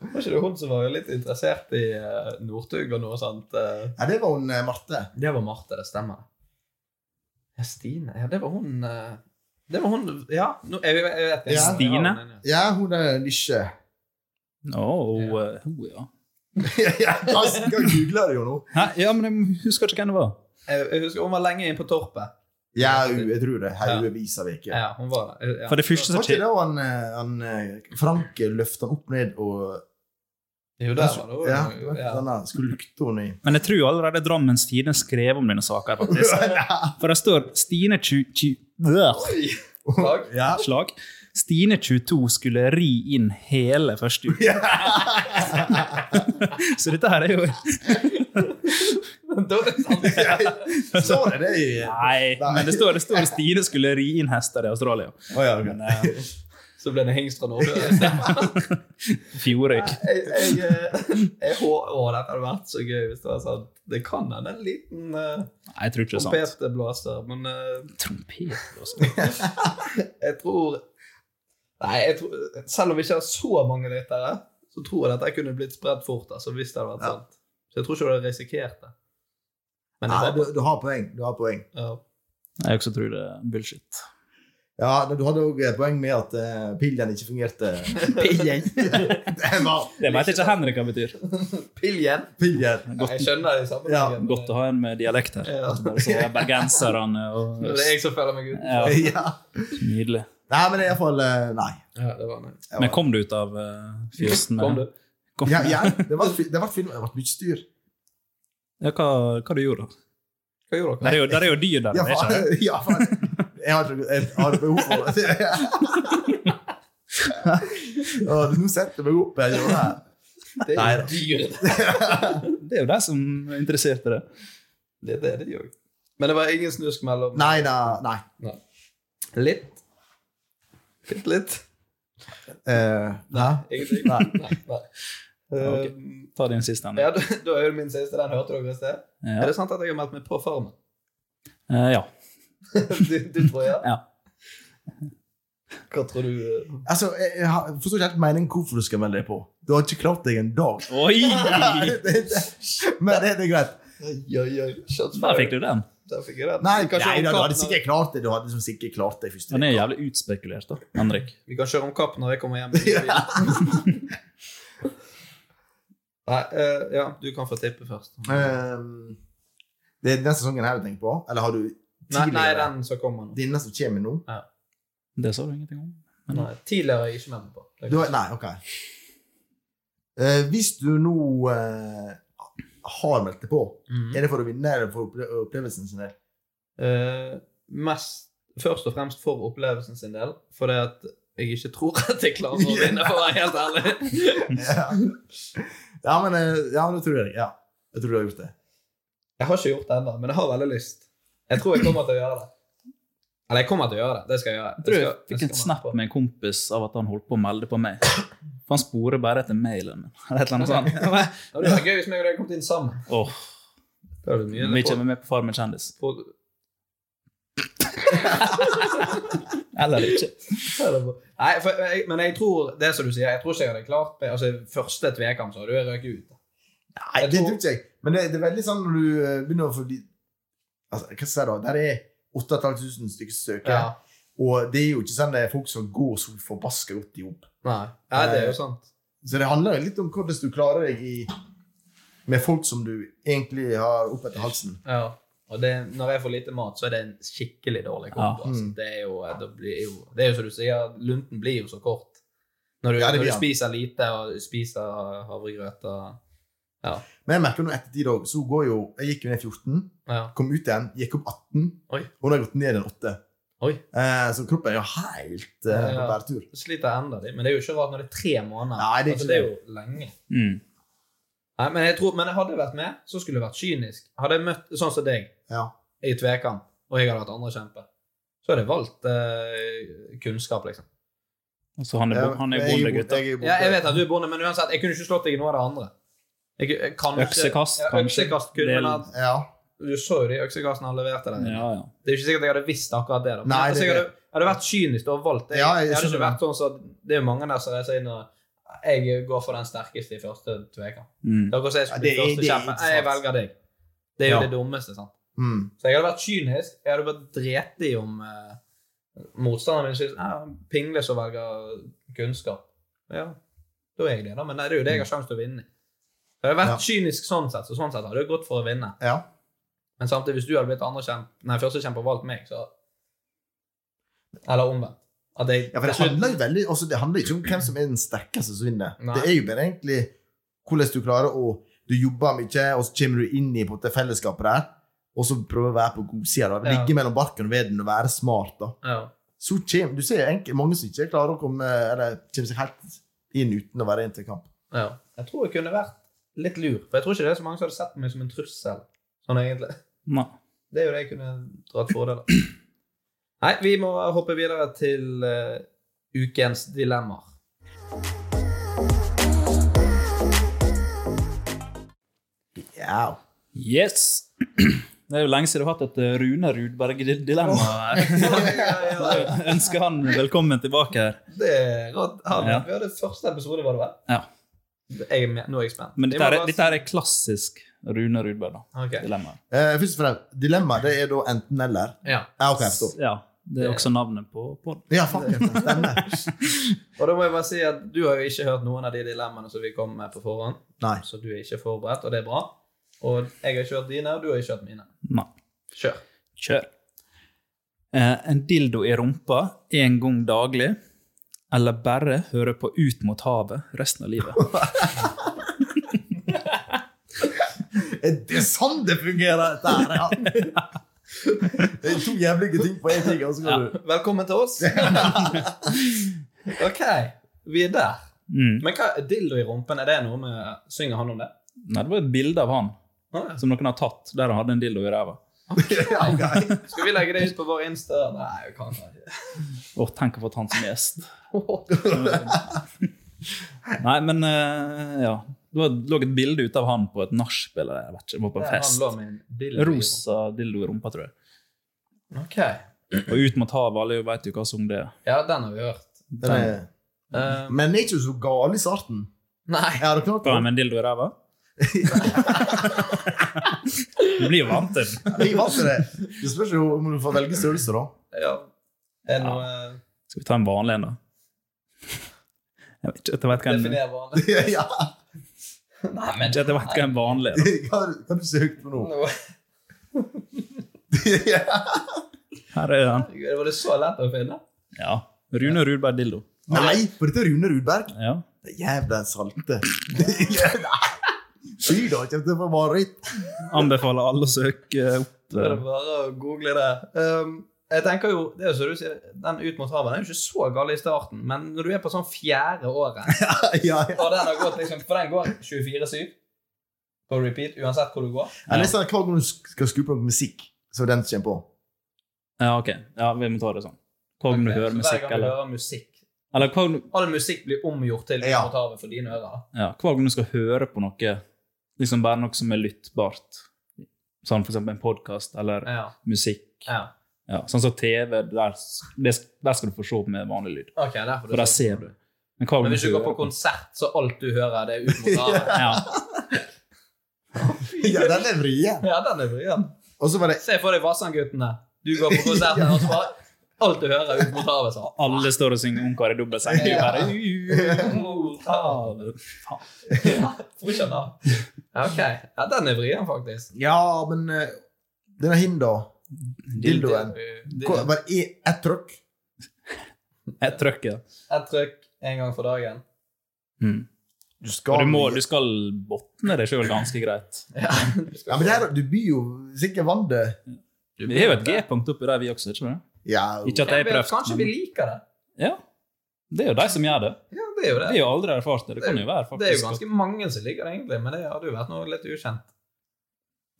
Speaker 3: Var ikke det hun som var litt interessert i eh, Northug og noe sånt? eh?
Speaker 5: Ja, det var hun eh, Marte.
Speaker 3: Det var Marte, det stemmer. Ja, Stine Ja, det var hun eh, Det var hun Ja, nå, jeg, jeg, jeg vet ikke.
Speaker 4: Stine?
Speaker 3: Ja, nei, nei.
Speaker 5: Ja, hun er nisje.
Speaker 4: Å, eh, ho, ja.
Speaker 5: Ja, Karsten kan google det jo nå.
Speaker 4: Hæ? ja, men jeg husker ikke hvem det var.
Speaker 3: Jeg, jeg husker hun var lenge inne på Torpet.
Speaker 5: Ja, hun- jeg tror det. Haugevis av uker.
Speaker 3: Ja, hun var det. Ja.
Speaker 4: For det første
Speaker 5: Var
Speaker 4: som
Speaker 5: ikke
Speaker 4: skjer
Speaker 5: det han, eh, han eh, Frank løfta opp ned og
Speaker 3: Jo, der var det hun.
Speaker 5: Ja, Sånn.
Speaker 3: Ja.
Speaker 5: denne skulle lukte hun i
Speaker 4: Men jeg tror allerede Drammens Tidende skrev om denne saken. faktisk. For det står Stine 22 øh,
Speaker 3: Takk.
Speaker 5: Ja.
Speaker 4: Slag. Stine 22 skulle ri inn hele første uke. Så dette her er jo
Speaker 3: Da er det sant.
Speaker 5: Så det det i
Speaker 4: Nei, men det står, det står Stine skulle ri inn hester i Australia.
Speaker 5: Å, ja, ok.
Speaker 4: eh,
Speaker 3: Så ble det Hengst fra Norge. det stemmer.
Speaker 4: Fjordøy.
Speaker 3: Jeg, jeg, eh, jeg hå- Å, dette hadde vært så gøy hvis det var sant. Det kan hende en liten uh,
Speaker 4: Nei, jeg tror ikke det er sant.
Speaker 3: trompetblåser, men eh,
Speaker 4: Trompet altså. også.
Speaker 3: jeg tror Nei, jeg tror, selv om vi ikke har så mange lyttere, så tror jeg dette kunne blitt spredt fort. altså, hvis det hadde vært
Speaker 5: Ja.
Speaker 3: sant. Så jeg tror ikke du hadde risikert det. Men jeg
Speaker 5: Nei,
Speaker 3: håper-
Speaker 5: du, du har poeng. Du har poeng.
Speaker 3: ja.
Speaker 4: Jeg også tror det er bullshit.
Speaker 5: Ja, men du hadde òg poeng med at eh, pillen ikke fungerte. pillen? den var
Speaker 4: Det vet ikke Henrik hva betyr.
Speaker 3: Piljen?
Speaker 5: pillen.
Speaker 3: Nei, Jeg skjønner det i
Speaker 5: Ja,
Speaker 3: sammenhengen. men
Speaker 4: Godt å ha en med dialekt her.
Speaker 3: Ja.
Speaker 4: Så er bergenserne og
Speaker 3: Det er jeg som føler meg ut.
Speaker 4: ja,
Speaker 5: Ja.
Speaker 4: Nydelig.
Speaker 5: Nei, men det er iallfall eh, Nei.
Speaker 3: Ja, det var nice.
Speaker 4: Men kom du ut av eh, fjøsen? med
Speaker 3: Kom du?
Speaker 4: den? Kom.
Speaker 5: Ja, ja, det ble film, det ble mye styr.
Speaker 4: Ja, hva, hva du gjorde du?
Speaker 3: Hva
Speaker 4: Der
Speaker 3: gjorde dere?
Speaker 4: er jo, der er jo dyr der,
Speaker 5: Ja,
Speaker 4: er ikke
Speaker 5: faen.
Speaker 4: det?
Speaker 5: Ja, faen. Jeg har, ikke- jeg har behov for det. Ja, Nå setter jeg meg opp. Jeg gjør det her.
Speaker 3: Det
Speaker 5: Nei
Speaker 3: er
Speaker 5: da.
Speaker 3: jo dyr.
Speaker 4: Det er jo de som er interessert i det.
Speaker 3: Det er det det gjør. Men det var ingen snusk mellom
Speaker 5: Nei, nei. nei.
Speaker 3: Nei. Litt. Bitte litt.
Speaker 5: Eh, nei.
Speaker 3: Ingenting.
Speaker 5: Nei.
Speaker 3: Nei. nei.
Speaker 4: Ok.
Speaker 3: Um,
Speaker 4: Eh, Ta din siste ende.
Speaker 3: ja, da, da er det min siste. Den hørte dere i sted.
Speaker 4: Ja.
Speaker 3: Er det sant at jeg har meldt meg på Farmen?
Speaker 4: Eh, ja.
Speaker 3: Du, du tror ja?
Speaker 4: ja.
Speaker 3: Hva tror du? eh?
Speaker 5: Altså, jeg, jeg har- jeg forstår ikke helt meningen hvorfor du skal melde deg på. Du har ikke klart deg en dag.
Speaker 4: Oi!
Speaker 5: Men det, det er greit.
Speaker 3: Oi, oi, oi.
Speaker 4: Der
Speaker 3: Shots fired.
Speaker 4: fikk du den.
Speaker 3: Der fikk jeg den.
Speaker 5: Nei,
Speaker 3: Vi kan
Speaker 5: nei
Speaker 3: kjøre om
Speaker 5: da, du hadde
Speaker 3: kapp når-
Speaker 5: sikkert klart det. Du hadde liksom sikkert klart det i første
Speaker 4: Den er
Speaker 5: uka.
Speaker 4: jævlig utspekulert, da. Henrik.
Speaker 3: Vi kan kjøre om kapp når jeg kommer hjem. i bilen. Nei, eh, ja, du kan få tippe først.
Speaker 5: Ehm, Det er den sesongen her du tenker på? Eller har du
Speaker 3: Nei, nei
Speaker 5: tidligere?
Speaker 3: den som kommer nå.
Speaker 5: Denne som kommer nå?
Speaker 4: Det sa du ingenting om. Men,
Speaker 3: Nei, tidligere er jeg ikke med meg på. Det
Speaker 5: Du
Speaker 3: kan-
Speaker 5: har, nei, ok. Eh, hvis du nå eh, har meldt deg på,
Speaker 4: Mm.
Speaker 3: Mhm.
Speaker 5: er det for å vinne eller for opple opplevelsen sin del?
Speaker 3: Eh, mest, først og fremst for opplevelsen sin del, for det at jeg ikke tror at jeg klarer å vinne, for å være helt ærlig.
Speaker 5: ja. ja, men eh, ja, det tror jeg. deg, Ja. Jeg tror du har gjort det.
Speaker 3: Jeg har ikke gjort det ennå, men jeg har veldig lyst. Jeg tror jeg kommer til å gjøre det. Eller jeg kommer til å gjøre det. Det skal jeg gjøre.
Speaker 4: jeg tror jeg
Speaker 3: skal-
Speaker 4: fikk
Speaker 3: skal
Speaker 4: en
Speaker 3: være
Speaker 4: snap
Speaker 3: på.
Speaker 4: med en kompis av at han holdt på å melde på meg. For han sporer bare etter mailen min. Eller et eller annet sånt.
Speaker 3: Ja, Det var gøy hvis meg og deg kom inn sammen.
Speaker 4: Åh,
Speaker 3: Det hadde mye
Speaker 4: vi kommer med på Farmen kjendis.
Speaker 3: på-
Speaker 4: Eller ikke.
Speaker 3: Nei, for, jeg, men jeg tror det som du sier, jeg tror ikke jeg hadde klart det. Altså, første tvekamp, så hadde jeg røket ut.
Speaker 5: Nei,
Speaker 3: Jeg
Speaker 5: det
Speaker 3: tror-
Speaker 5: tror ikke jeg. Men det, det er veldig sånn når du eh, begynner å få de- altså, Hva skal jeg si da? Der er 8500 stykker som søker,
Speaker 3: Ja.
Speaker 5: og det er jo ikke sånn det er folk som går så forbaska godt i jobb.
Speaker 3: Nei. Eh, Ja, det er jo sant.
Speaker 5: Så det handler jo litt om hvordan du klarer deg i, med folk som du egentlig har opp etter halsen.
Speaker 3: Ja. Og det, når jeg får lite mat, så er det en skikkelig dårlig kombo.
Speaker 4: Ja.
Speaker 3: Altså.
Speaker 5: Mm.
Speaker 3: Det, er jo, det, blir jo, det er jo som du sier, lunten blir jo så kort. Når du,
Speaker 5: Ja, det
Speaker 3: når
Speaker 5: blir
Speaker 3: du
Speaker 5: han.
Speaker 3: spiser lite og spiser havregrøt og Ja.
Speaker 5: Men jeg merker nå ettertid òg, så går jo Jeg gikk jo ned 14,
Speaker 3: ja.
Speaker 5: kom ut igjen, gikk opp 18,
Speaker 3: Oi.
Speaker 5: og nå har jeg gått ned en 8.
Speaker 3: Oi.
Speaker 5: Eh, så kroppen er jo helt eh, på
Speaker 3: Ja.
Speaker 5: bærtur.
Speaker 3: Så sliter jeg enda litt. Men det er jo ikke rart når det er tre måneder.
Speaker 5: Nei, det er
Speaker 3: altså,
Speaker 5: ikke
Speaker 3: det er jo lenge.
Speaker 4: Mm.
Speaker 3: Nei, men, jeg tror, men jeg hadde jeg vært med, så skulle jeg vært kynisk. Hadde jeg møtt sånn som deg
Speaker 5: Ja.
Speaker 3: i tvekamp, og jeg hadde vært andre kjempe, så hadde jeg valgt eh, kunnskap, liksom.
Speaker 4: Og så han er, bo- han er
Speaker 5: Jeg
Speaker 4: bonde,
Speaker 5: jo-
Speaker 4: gutta.
Speaker 5: jeg er jo bonde.
Speaker 3: Ja, jeg vet at du er bonde, men uansett, jeg kunne ikke slått deg i noe av det andre. Jeg, jeg, kanskje,
Speaker 4: Øksekast,
Speaker 3: ja,
Speaker 4: kanskje.
Speaker 3: Øksekast kunne,
Speaker 4: Del-
Speaker 3: men at,
Speaker 5: Ja.
Speaker 3: du så jo de øksekastene han leverte deg.
Speaker 4: Ja, ja.
Speaker 3: Det er jo ikke sikkert jeg hadde visst akkurat det. da. Men
Speaker 5: Nei,
Speaker 3: altså,
Speaker 5: det-
Speaker 3: jeg hadde, jeg hadde vært kynisk og valgt det. Jeg,
Speaker 5: Ja, jeg
Speaker 3: jeg hadde ikke
Speaker 5: skjønner
Speaker 3: vært sånn som Det er jo mange der som reiser inn og Jeg går for den sterkeste i første tvekamp.
Speaker 4: Mm.
Speaker 3: Dere som jeg skulle
Speaker 5: Ja, det
Speaker 3: bli
Speaker 5: er-
Speaker 3: første
Speaker 5: det er
Speaker 3: kjempe,
Speaker 5: ikke
Speaker 3: jeg
Speaker 5: sant.
Speaker 3: velger deg. Det er jo
Speaker 5: Ja.
Speaker 3: det dummeste, sant.
Speaker 5: Mm.
Speaker 3: Så jeg hadde vært kynisk. Jeg hadde bare drept i om eh, motstanderen min synes eh, pingle som velger kunnskap. Ja, da er jeg det, da. Men nei, det er jo det jeg har sjanse til å vinne. Så jeg hadde vært kynisk sånn sett, så sånn sett hadde jeg gått for å vinne.
Speaker 5: ja.
Speaker 3: Men samtidig, hvis du hadde blitt andre kjemp, nei, første kjemp og valgt meg, så Eller omvendt. At jeg
Speaker 5: Ja, for det handler jo veldig altså Det handler ikke om hvem som er den sterkeste som vinner.
Speaker 3: Nei.
Speaker 5: Det er jo bare egentlig hvordan du klarer å Du jobber mye, og så kommer du inn i på en måte fellesskapet der, og så prøver å være på godsida.
Speaker 3: Ja.
Speaker 5: da. Ligge mellom barken og veden og være smart. da.
Speaker 3: Ja.
Speaker 5: Så kjem, du ser enkel, mange som ikke klarer å komme Eller kommer seg helt inn uten å være inn til kamp.
Speaker 3: ja. Jeg tror jeg kunne vært litt lur, for jeg tror ikke det er så mange som hadde sett på meg som en trussel. Sånn egentlig.
Speaker 4: Nei.
Speaker 3: Det er jo det jeg kunne dratt fordel av. Nei, vi må hoppe videre til eh, ukens dilemmaer.
Speaker 5: Ja.
Speaker 4: Yes! Det er jo lenge siden du har hatt et eh, Rune Rudberg-dilemma. her. Ønsker han velkommen tilbake her.
Speaker 3: Det er rart. Han,
Speaker 4: Ja.
Speaker 3: Vi hadde første episode, var det vel?
Speaker 4: Ja.
Speaker 3: Jeg, er med- nå er jeg spent.
Speaker 4: Men
Speaker 3: Vi
Speaker 4: dette
Speaker 3: må
Speaker 4: er,
Speaker 3: bare-
Speaker 4: dette er klassisk Rune Rudberg. da.
Speaker 3: Ok.
Speaker 4: Dilemma.
Speaker 5: Eh, først og fremst, dilemmaet det er da enten-eller.
Speaker 3: Ja.
Speaker 5: Ja, ok, jeg forstår.
Speaker 4: Ja. Det er også navnet på podden.
Speaker 5: Ja, faktisk. Stemmer.
Speaker 3: Og da må jeg bare si at du har jo ikke hørt noen av de dilemmaene som vi kom med på forhånd.
Speaker 5: Nei.
Speaker 3: Så du er ikke forberedt, og det er bra. Og jeg har ikke hørt dine, og du har ikke hørt mine.
Speaker 4: Nei.
Speaker 3: Kjør.
Speaker 4: Kjør. Eh, en dildo i rumpa én gang daglig, eller bare høre på Ut mot havet resten av livet?
Speaker 5: Det er sånn det fungerer, dette her, ja. Det er to jævlige ting på én ting, og så kan du
Speaker 3: Velkommen til oss. ok, vi er der.
Speaker 4: Mm.
Speaker 3: Men hva dildo i rumpen, er det noe med Synger han om det?
Speaker 4: Nei, det var et bilde av han
Speaker 3: Å, ja.
Speaker 4: som noen har tatt, der han hadde en dildo i ræva.
Speaker 5: ja, ok.
Speaker 3: Skal vi legge det ut på vår Insta? Nei, vi kan ikke.
Speaker 4: Å, tenk å få han som gjest. Nei, men eh, ja. Det var- lå et bilde ute av han på et nachspiel eller jeg vet ikke, det var på en
Speaker 3: Der Han
Speaker 4: fest.
Speaker 3: lå med en dildo i rumpen.
Speaker 4: Rosa dildo i rumpa, tror jeg.
Speaker 3: Ok.
Speaker 4: Og Ut mot havet, alle vet jo hva som det er.
Speaker 3: Ja, den har vi hørt.
Speaker 5: Den er,
Speaker 3: Eh,
Speaker 5: men den er ikke så gal i starten.
Speaker 3: nei.
Speaker 5: Jeg hadde klart
Speaker 4: Hva med en dildo i ræva? Du blir jo vant til den.
Speaker 5: Jeg vant til det. Det spørs jo om du får velge størrelse, da.
Speaker 3: Ja. Er det noe eh,
Speaker 4: Skal vi ta en vanlig en, da? Jeg vet ikke at jeg vet hva en,
Speaker 3: Definer vanlig.
Speaker 5: ja.
Speaker 3: Nei,
Speaker 4: jeg vet ikke at jeg vet hva en vanlig er. da.
Speaker 5: Hva hva du søkte på nå?
Speaker 3: Nå-
Speaker 5: ja.
Speaker 4: Her er han.
Speaker 3: Herregud, Var det så lett å finne?
Speaker 4: Ja. Rune Rudberg dildo.
Speaker 5: Nei, for dette er Rune Rudberg.
Speaker 4: Ja.
Speaker 5: Det er Jævla salte. Nei. Fy da, kommer til å få mareritt.
Speaker 4: Anbefaler alle å søke opp
Speaker 3: Det er
Speaker 4: eh,
Speaker 3: bare å google det. Um, jeg tenker jo, det er jo som du sier, Den ut mot havet den er jo ikke så gal i starten, men når du er på sånn fjerde året
Speaker 5: ja, ja.
Speaker 3: og den har gått liksom, For den går 24-7 på repeat uansett hvor du går.
Speaker 5: Eller sånn, hver gang du skal skru på musikk, så den kommer på.
Speaker 4: Ja, ok. Ja, vi må ta det sånn. Hva om du
Speaker 3: Ok,
Speaker 4: hører
Speaker 3: så
Speaker 4: musikk,
Speaker 3: Hver gang du
Speaker 4: eller
Speaker 3: hører musikk.
Speaker 4: Eller hva om du
Speaker 3: All musikk blir omgjort til ut
Speaker 5: Ja.
Speaker 3: mot havet for dine ører.
Speaker 4: Ja, hver gang du skal høre på noe, liksom bare noe som er lyttbart, sånn for eksempel en podcast eller
Speaker 3: Ja.
Speaker 4: musikk,
Speaker 3: ja.
Speaker 4: ja, sånn som TV, der, s- det s- der skal du få se på med vanlig lyd,
Speaker 3: Ok, derfor
Speaker 4: for der ser du. Men, hver gang
Speaker 3: Men hvis sånn du går på
Speaker 4: hører
Speaker 3: konsert, så alt du hører, det er ut mot havet.
Speaker 4: Ja,
Speaker 5: Ja, den er vrien.
Speaker 3: Ja, den er vrien.
Speaker 5: Og så var det
Speaker 3: Se for deg Vassandguttene. Du går på konsert der, og så bare Alt du hører, er ut mot havet. Så.
Speaker 4: alle står og synger Ungkar i dobbeltseng. Det er jo bare "Ut mot havet." Faen.
Speaker 3: Får ikke han av. Ja, Ok. Ja, den er vrien, faktisk.
Speaker 5: Ja, men eh, denne hinda, dildoen
Speaker 3: Det-
Speaker 5: Hva- Var det e- ett trykk?
Speaker 4: Jeg trykker.
Speaker 3: Et trykk en gang for dagen.
Speaker 4: Mm.
Speaker 5: Du skal
Speaker 4: Og du, må, du skal botne deg sjøl ganske greit.
Speaker 3: Ja, du skal
Speaker 5: Ja, men der, du blir jo sikkert vant til
Speaker 4: Vi har jo et G-punkt oppi der, vi også. ikke det?
Speaker 5: Ja,
Speaker 4: Ikke at
Speaker 3: Jeg
Speaker 4: jeg har
Speaker 3: vet, kanskje
Speaker 4: prøvd,
Speaker 3: vi
Speaker 4: men
Speaker 3: liker det.
Speaker 4: ja. Det er jo de som gjør det.
Speaker 3: Ja, det er jo det.
Speaker 4: Vi har jo aldri erfart det. Det kan jo være
Speaker 3: Det er jo
Speaker 4: faktisk
Speaker 3: ganske mange som liker det, egentlig, men det hadde jo vært noe litt ukjent.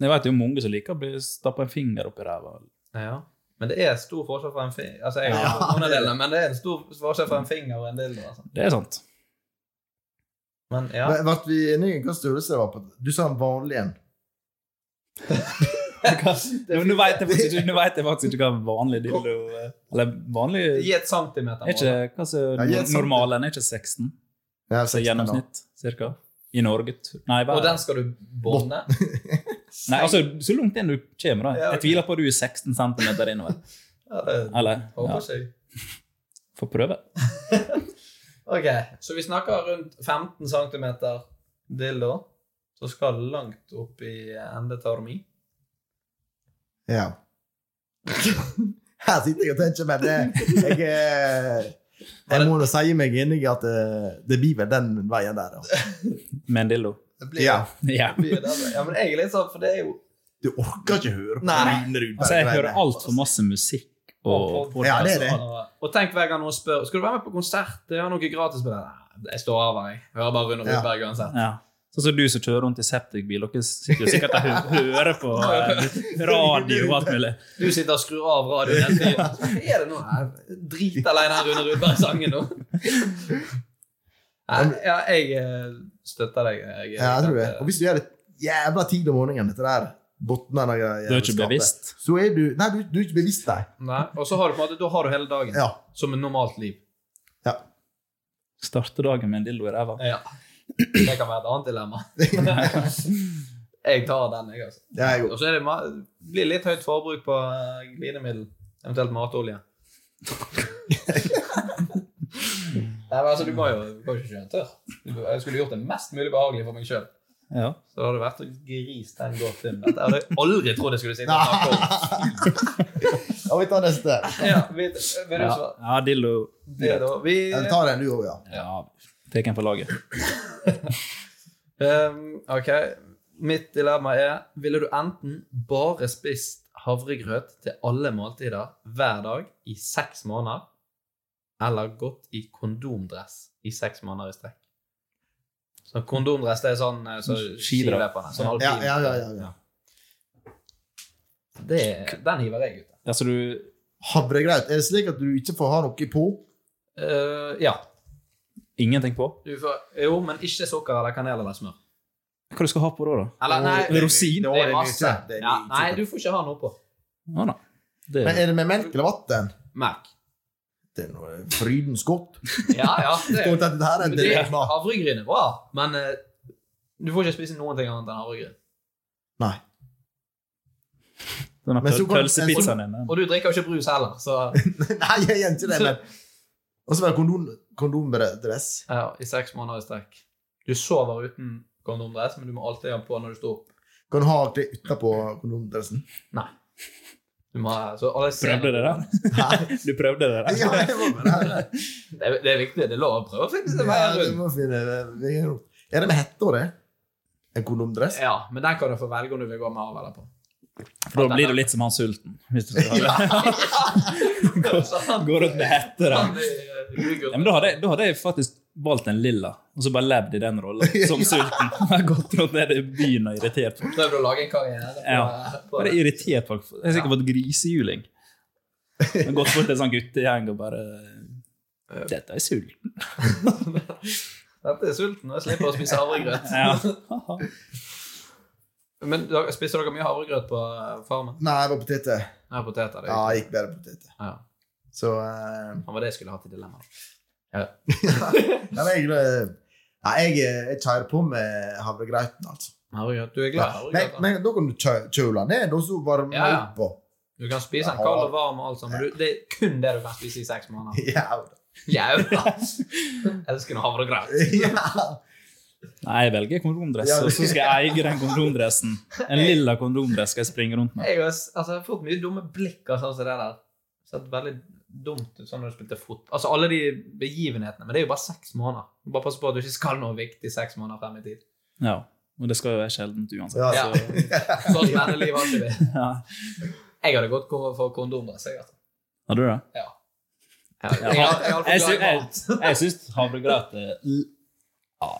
Speaker 4: Jeg vet jo mange som liker å bli stappa en finger opp i ræva.
Speaker 3: Ja. Men det er stor forskjell fra en finger Altså, jeg har
Speaker 5: Ja.
Speaker 3: noen av delene, men det er en stor forskjell fra en finger og en dildo. Altså.
Speaker 4: Det er sant.
Speaker 3: Men ja.
Speaker 5: Ble ble vi enige om hva størrelse det var på? Du sa en vanlig en.
Speaker 4: Nå nå vet jeg faktisk ikke, nå vet jeg faktisk ikke hva vanlig dildo er. Eller vanlig
Speaker 3: Gi et centimeter.
Speaker 4: er ikke, hva som
Speaker 5: Ja, gi et
Speaker 4: er Normalen er ikke 16,
Speaker 5: Ja,
Speaker 4: så
Speaker 5: 16 da.
Speaker 4: gjennomsnitt cirka. I Norge t- Nei,
Speaker 3: Og
Speaker 4: bare.
Speaker 3: den skal du bånde?
Speaker 4: Nei, altså, så langt inn du kommer, da.
Speaker 3: Ja, ok.
Speaker 4: Jeg tviler på at du er 16 cm innover.
Speaker 3: Ja, det
Speaker 4: Eller?
Speaker 3: håper
Speaker 4: Ja,
Speaker 3: ikke jeg.
Speaker 4: Får prøve.
Speaker 3: Ok, så vi snakker rundt 15 cm dildo, som skal langt opp i endetarmi.
Speaker 5: Ja. Her sitter jeg og tenker, men det, jeg, eh, jeg må nå si meg enig i at eh, det blir vel den veien der. Altså.
Speaker 4: Med en dildo.
Speaker 5: Ja.
Speaker 4: Ja.
Speaker 3: Blir det det? Ja, men jeg er litt sånn, for det er jo
Speaker 5: Du orker ikke høre på
Speaker 3: Nei.
Speaker 5: Rune Rudberg.
Speaker 4: Altså, jeg hører altfor masse musikk og
Speaker 3: og-
Speaker 5: Ja, det er det.
Speaker 3: Og tenk hver gang noen spør Skal du være med på konsert. Det er noe gratis på det. Nei, Jeg står av, jeg. Hører bare Rune
Speaker 5: Ja.
Speaker 3: Rudberg uansett.
Speaker 4: Ja. Sånn som du som kjører rundt i septikbil. Dere sitter jo sikkert og hø- hører på eh, radio og alt mulig.
Speaker 3: Du sitter og skrur av radioen hele tiden. Hva Er det nå? Jeg er Dritaleine her Rune Rudberg-sangen nå. Nei, ja, jeg eh, støtter deg. Jeg, eh,
Speaker 5: Ja, jeg tror det. Og hvis du gjør det jævla tidlig om morgenen, dette der botner av jævla
Speaker 4: Du er ikke
Speaker 5: skapet,
Speaker 4: bevisst.
Speaker 5: Så er du Nei, du, du er ikke bevisst, nei.
Speaker 3: Nei, og så har du på en måte, da har du hele dagen
Speaker 5: Ja.
Speaker 3: som et normalt liv.
Speaker 5: ja.
Speaker 4: Starte dagen med en dildo i ræva.
Speaker 3: Ja. Det kan være et annet dilemma. jeg tar den, jeg, altså.
Speaker 5: Ja, jeg går.
Speaker 3: Og så er det ma- blir litt høyt forbruk på eh, glidemiddel, eventuelt matolje. Nei, men altså, du må jo du kan jo ikke kjøre en tørr. Du- Jeg skulle gjort det mest mulig behagelig for meg sjøl.
Speaker 4: Ja.
Speaker 3: Så det hadde vært å grise den godt inn. Dette hadde jeg aldri trodd jeg skulle sitte og snakke om.
Speaker 5: Ja, vi tar neste.
Speaker 3: Ja, vet, vil du
Speaker 4: Ja,
Speaker 3: svare?
Speaker 4: ja dillo.
Speaker 3: Det da. Vi,
Speaker 5: Eller tar den du òg, ja.
Speaker 4: Ja, tar en for laget.
Speaker 3: Ehm, ok, mitt dilemma er Ville du enten bare spist havregrøt til alle måltider hver dag i seks måneder, eller gått i kondomdress i seks måneder i strekk? Så kondomdress det er sånn eh, så skiløperne. Sånn alpin.
Speaker 5: Ja, ja, ja, ja, ja.
Speaker 3: Det, den hiver jeg ut.
Speaker 4: Altså, du
Speaker 5: Havregrøt. Er det slik at du ikke får ha noe på?
Speaker 3: Eh, ja.
Speaker 4: Ingenting på?
Speaker 3: Du får, jo, men ikke sukker eller kanel eller smør.
Speaker 4: Hva du skal ha på da? da?
Speaker 3: Eller nei,
Speaker 4: Og rosin?
Speaker 5: Det
Speaker 3: det er
Speaker 5: er
Speaker 3: masse.
Speaker 5: mye. Det er
Speaker 3: Ja,
Speaker 5: mye
Speaker 3: nei,
Speaker 5: sukker.
Speaker 3: du får ikke ha noe på.
Speaker 4: Ja, da. Det
Speaker 5: Men eh,
Speaker 4: er
Speaker 5: er det med melk eller vann?
Speaker 3: Merk.
Speaker 5: Det er noe frydens godt.
Speaker 3: Ja, ja. Det,
Speaker 5: Stort at det her er
Speaker 3: Men
Speaker 5: et
Speaker 3: det-
Speaker 5: dilemma.
Speaker 3: Havregryn er bra, men eh, du får ikke spise noen ting annet enn havregryn.
Speaker 5: Nei.
Speaker 4: denne
Speaker 5: Men så
Speaker 4: pøl-
Speaker 5: kan-
Speaker 4: pølsepizzaen din.
Speaker 3: Og du drikker jo ikke brus heller, så
Speaker 5: Nei, jeg gjør ikke det, men Og så var det kondom, kondomdress.
Speaker 3: ja, i seks måneder i strekk. Du sover uten kondomdress, men du må alltid ha den på når du står opp.
Speaker 5: Kan du ha alt det utapå kondomdressen?
Speaker 3: Nei. Du må, ha- så alle ser-
Speaker 4: Prøvde det der? Du prøvde det der?
Speaker 5: Ja, det må være det.
Speaker 3: Det, er- det er viktig. Det er lov å prøve å finne seg
Speaker 5: Ja,
Speaker 3: veien
Speaker 5: det
Speaker 3: rundt.
Speaker 5: må finne veien rundt. Er det med hette og det? En kondomdress?
Speaker 3: Ja, men den kan du få velge om du vil gå med av eller på.
Speaker 4: For da blir du litt som han sulten. Hvis du skal ha det.
Speaker 3: Sånn.
Speaker 4: Gå rundt med hette, da.
Speaker 3: Sånn, eh, yoghurt.
Speaker 4: Ja, men da hadde, jeg- da hadde jeg faktisk valgt en lilla, og så bare levd i den rollen som sulten. Jeg har gått rundt ned i byen og irritert folk.
Speaker 3: Prøvde å lage en karriere på,
Speaker 4: Ja.
Speaker 3: på
Speaker 4: Bare irritert folk. Jeg har sikkert fått grisehjuling. Jeg har Gått bort til en sånn guttegjeng og bare Dette er sulten.
Speaker 3: Dette er sulten, og jeg slipper å spise havregrøt.
Speaker 4: Ja.
Speaker 3: Men da- spiser dere mye havregrøt på eh, farmen?
Speaker 5: Nei, det var poteter.
Speaker 3: Nei, poteter. Det
Speaker 5: Ja,
Speaker 3: er
Speaker 5: jeg gikk bedre på poteter.
Speaker 3: Ja.
Speaker 5: Så eh,
Speaker 3: Det var det jeg skulle ha til dilemma.
Speaker 5: Nei, men jeg, eh, nei, jeg, eh, jeg kjører på med havregrøten, altså.
Speaker 3: Havregrøt. Du er glad i
Speaker 5: Men,
Speaker 3: havregrøt? da.
Speaker 5: men da kan du kjø- kjøle den ned, og så varme
Speaker 3: Ja,
Speaker 5: den
Speaker 3: ja.
Speaker 5: opp på.
Speaker 3: Du kan spise den kald og varm og alt sånt, men du, det er kun det du kan spise i seks måneder.
Speaker 5: Ja, da.
Speaker 3: Jævla! Elsker noe havregrøt.
Speaker 5: ja.
Speaker 4: Nei, jeg velger kondomdress, og så skal jeg eie den kondomdressen. En lilla kondomdress skal jeg springe rundt med.
Speaker 3: Jeg har, s- altså, jeg har fått mye dumme blikk av sånn som det der. Sett veldig dumt ut sånn når du spilte fot. Altså alle de begivenhetene. Men det er jo bare seks måneder. Bare pass på at du ikke skal noe viktig seks måneder frem i tid.
Speaker 4: Ja, Og det skal jo være sjeldent uansett.
Speaker 5: Ja, altså.
Speaker 3: Ja. Sånn denne livet har ikke vi.
Speaker 4: Ja.
Speaker 3: Jeg hadde gått for kondomdress, jeg, altså.
Speaker 4: Har du det?
Speaker 3: Ja.
Speaker 4: Ja.
Speaker 3: Jeg, jeg, jeg, jeg,
Speaker 4: Jeg
Speaker 3: jeg,
Speaker 4: sy- jeg- jeg syns havregrøt er l- ja.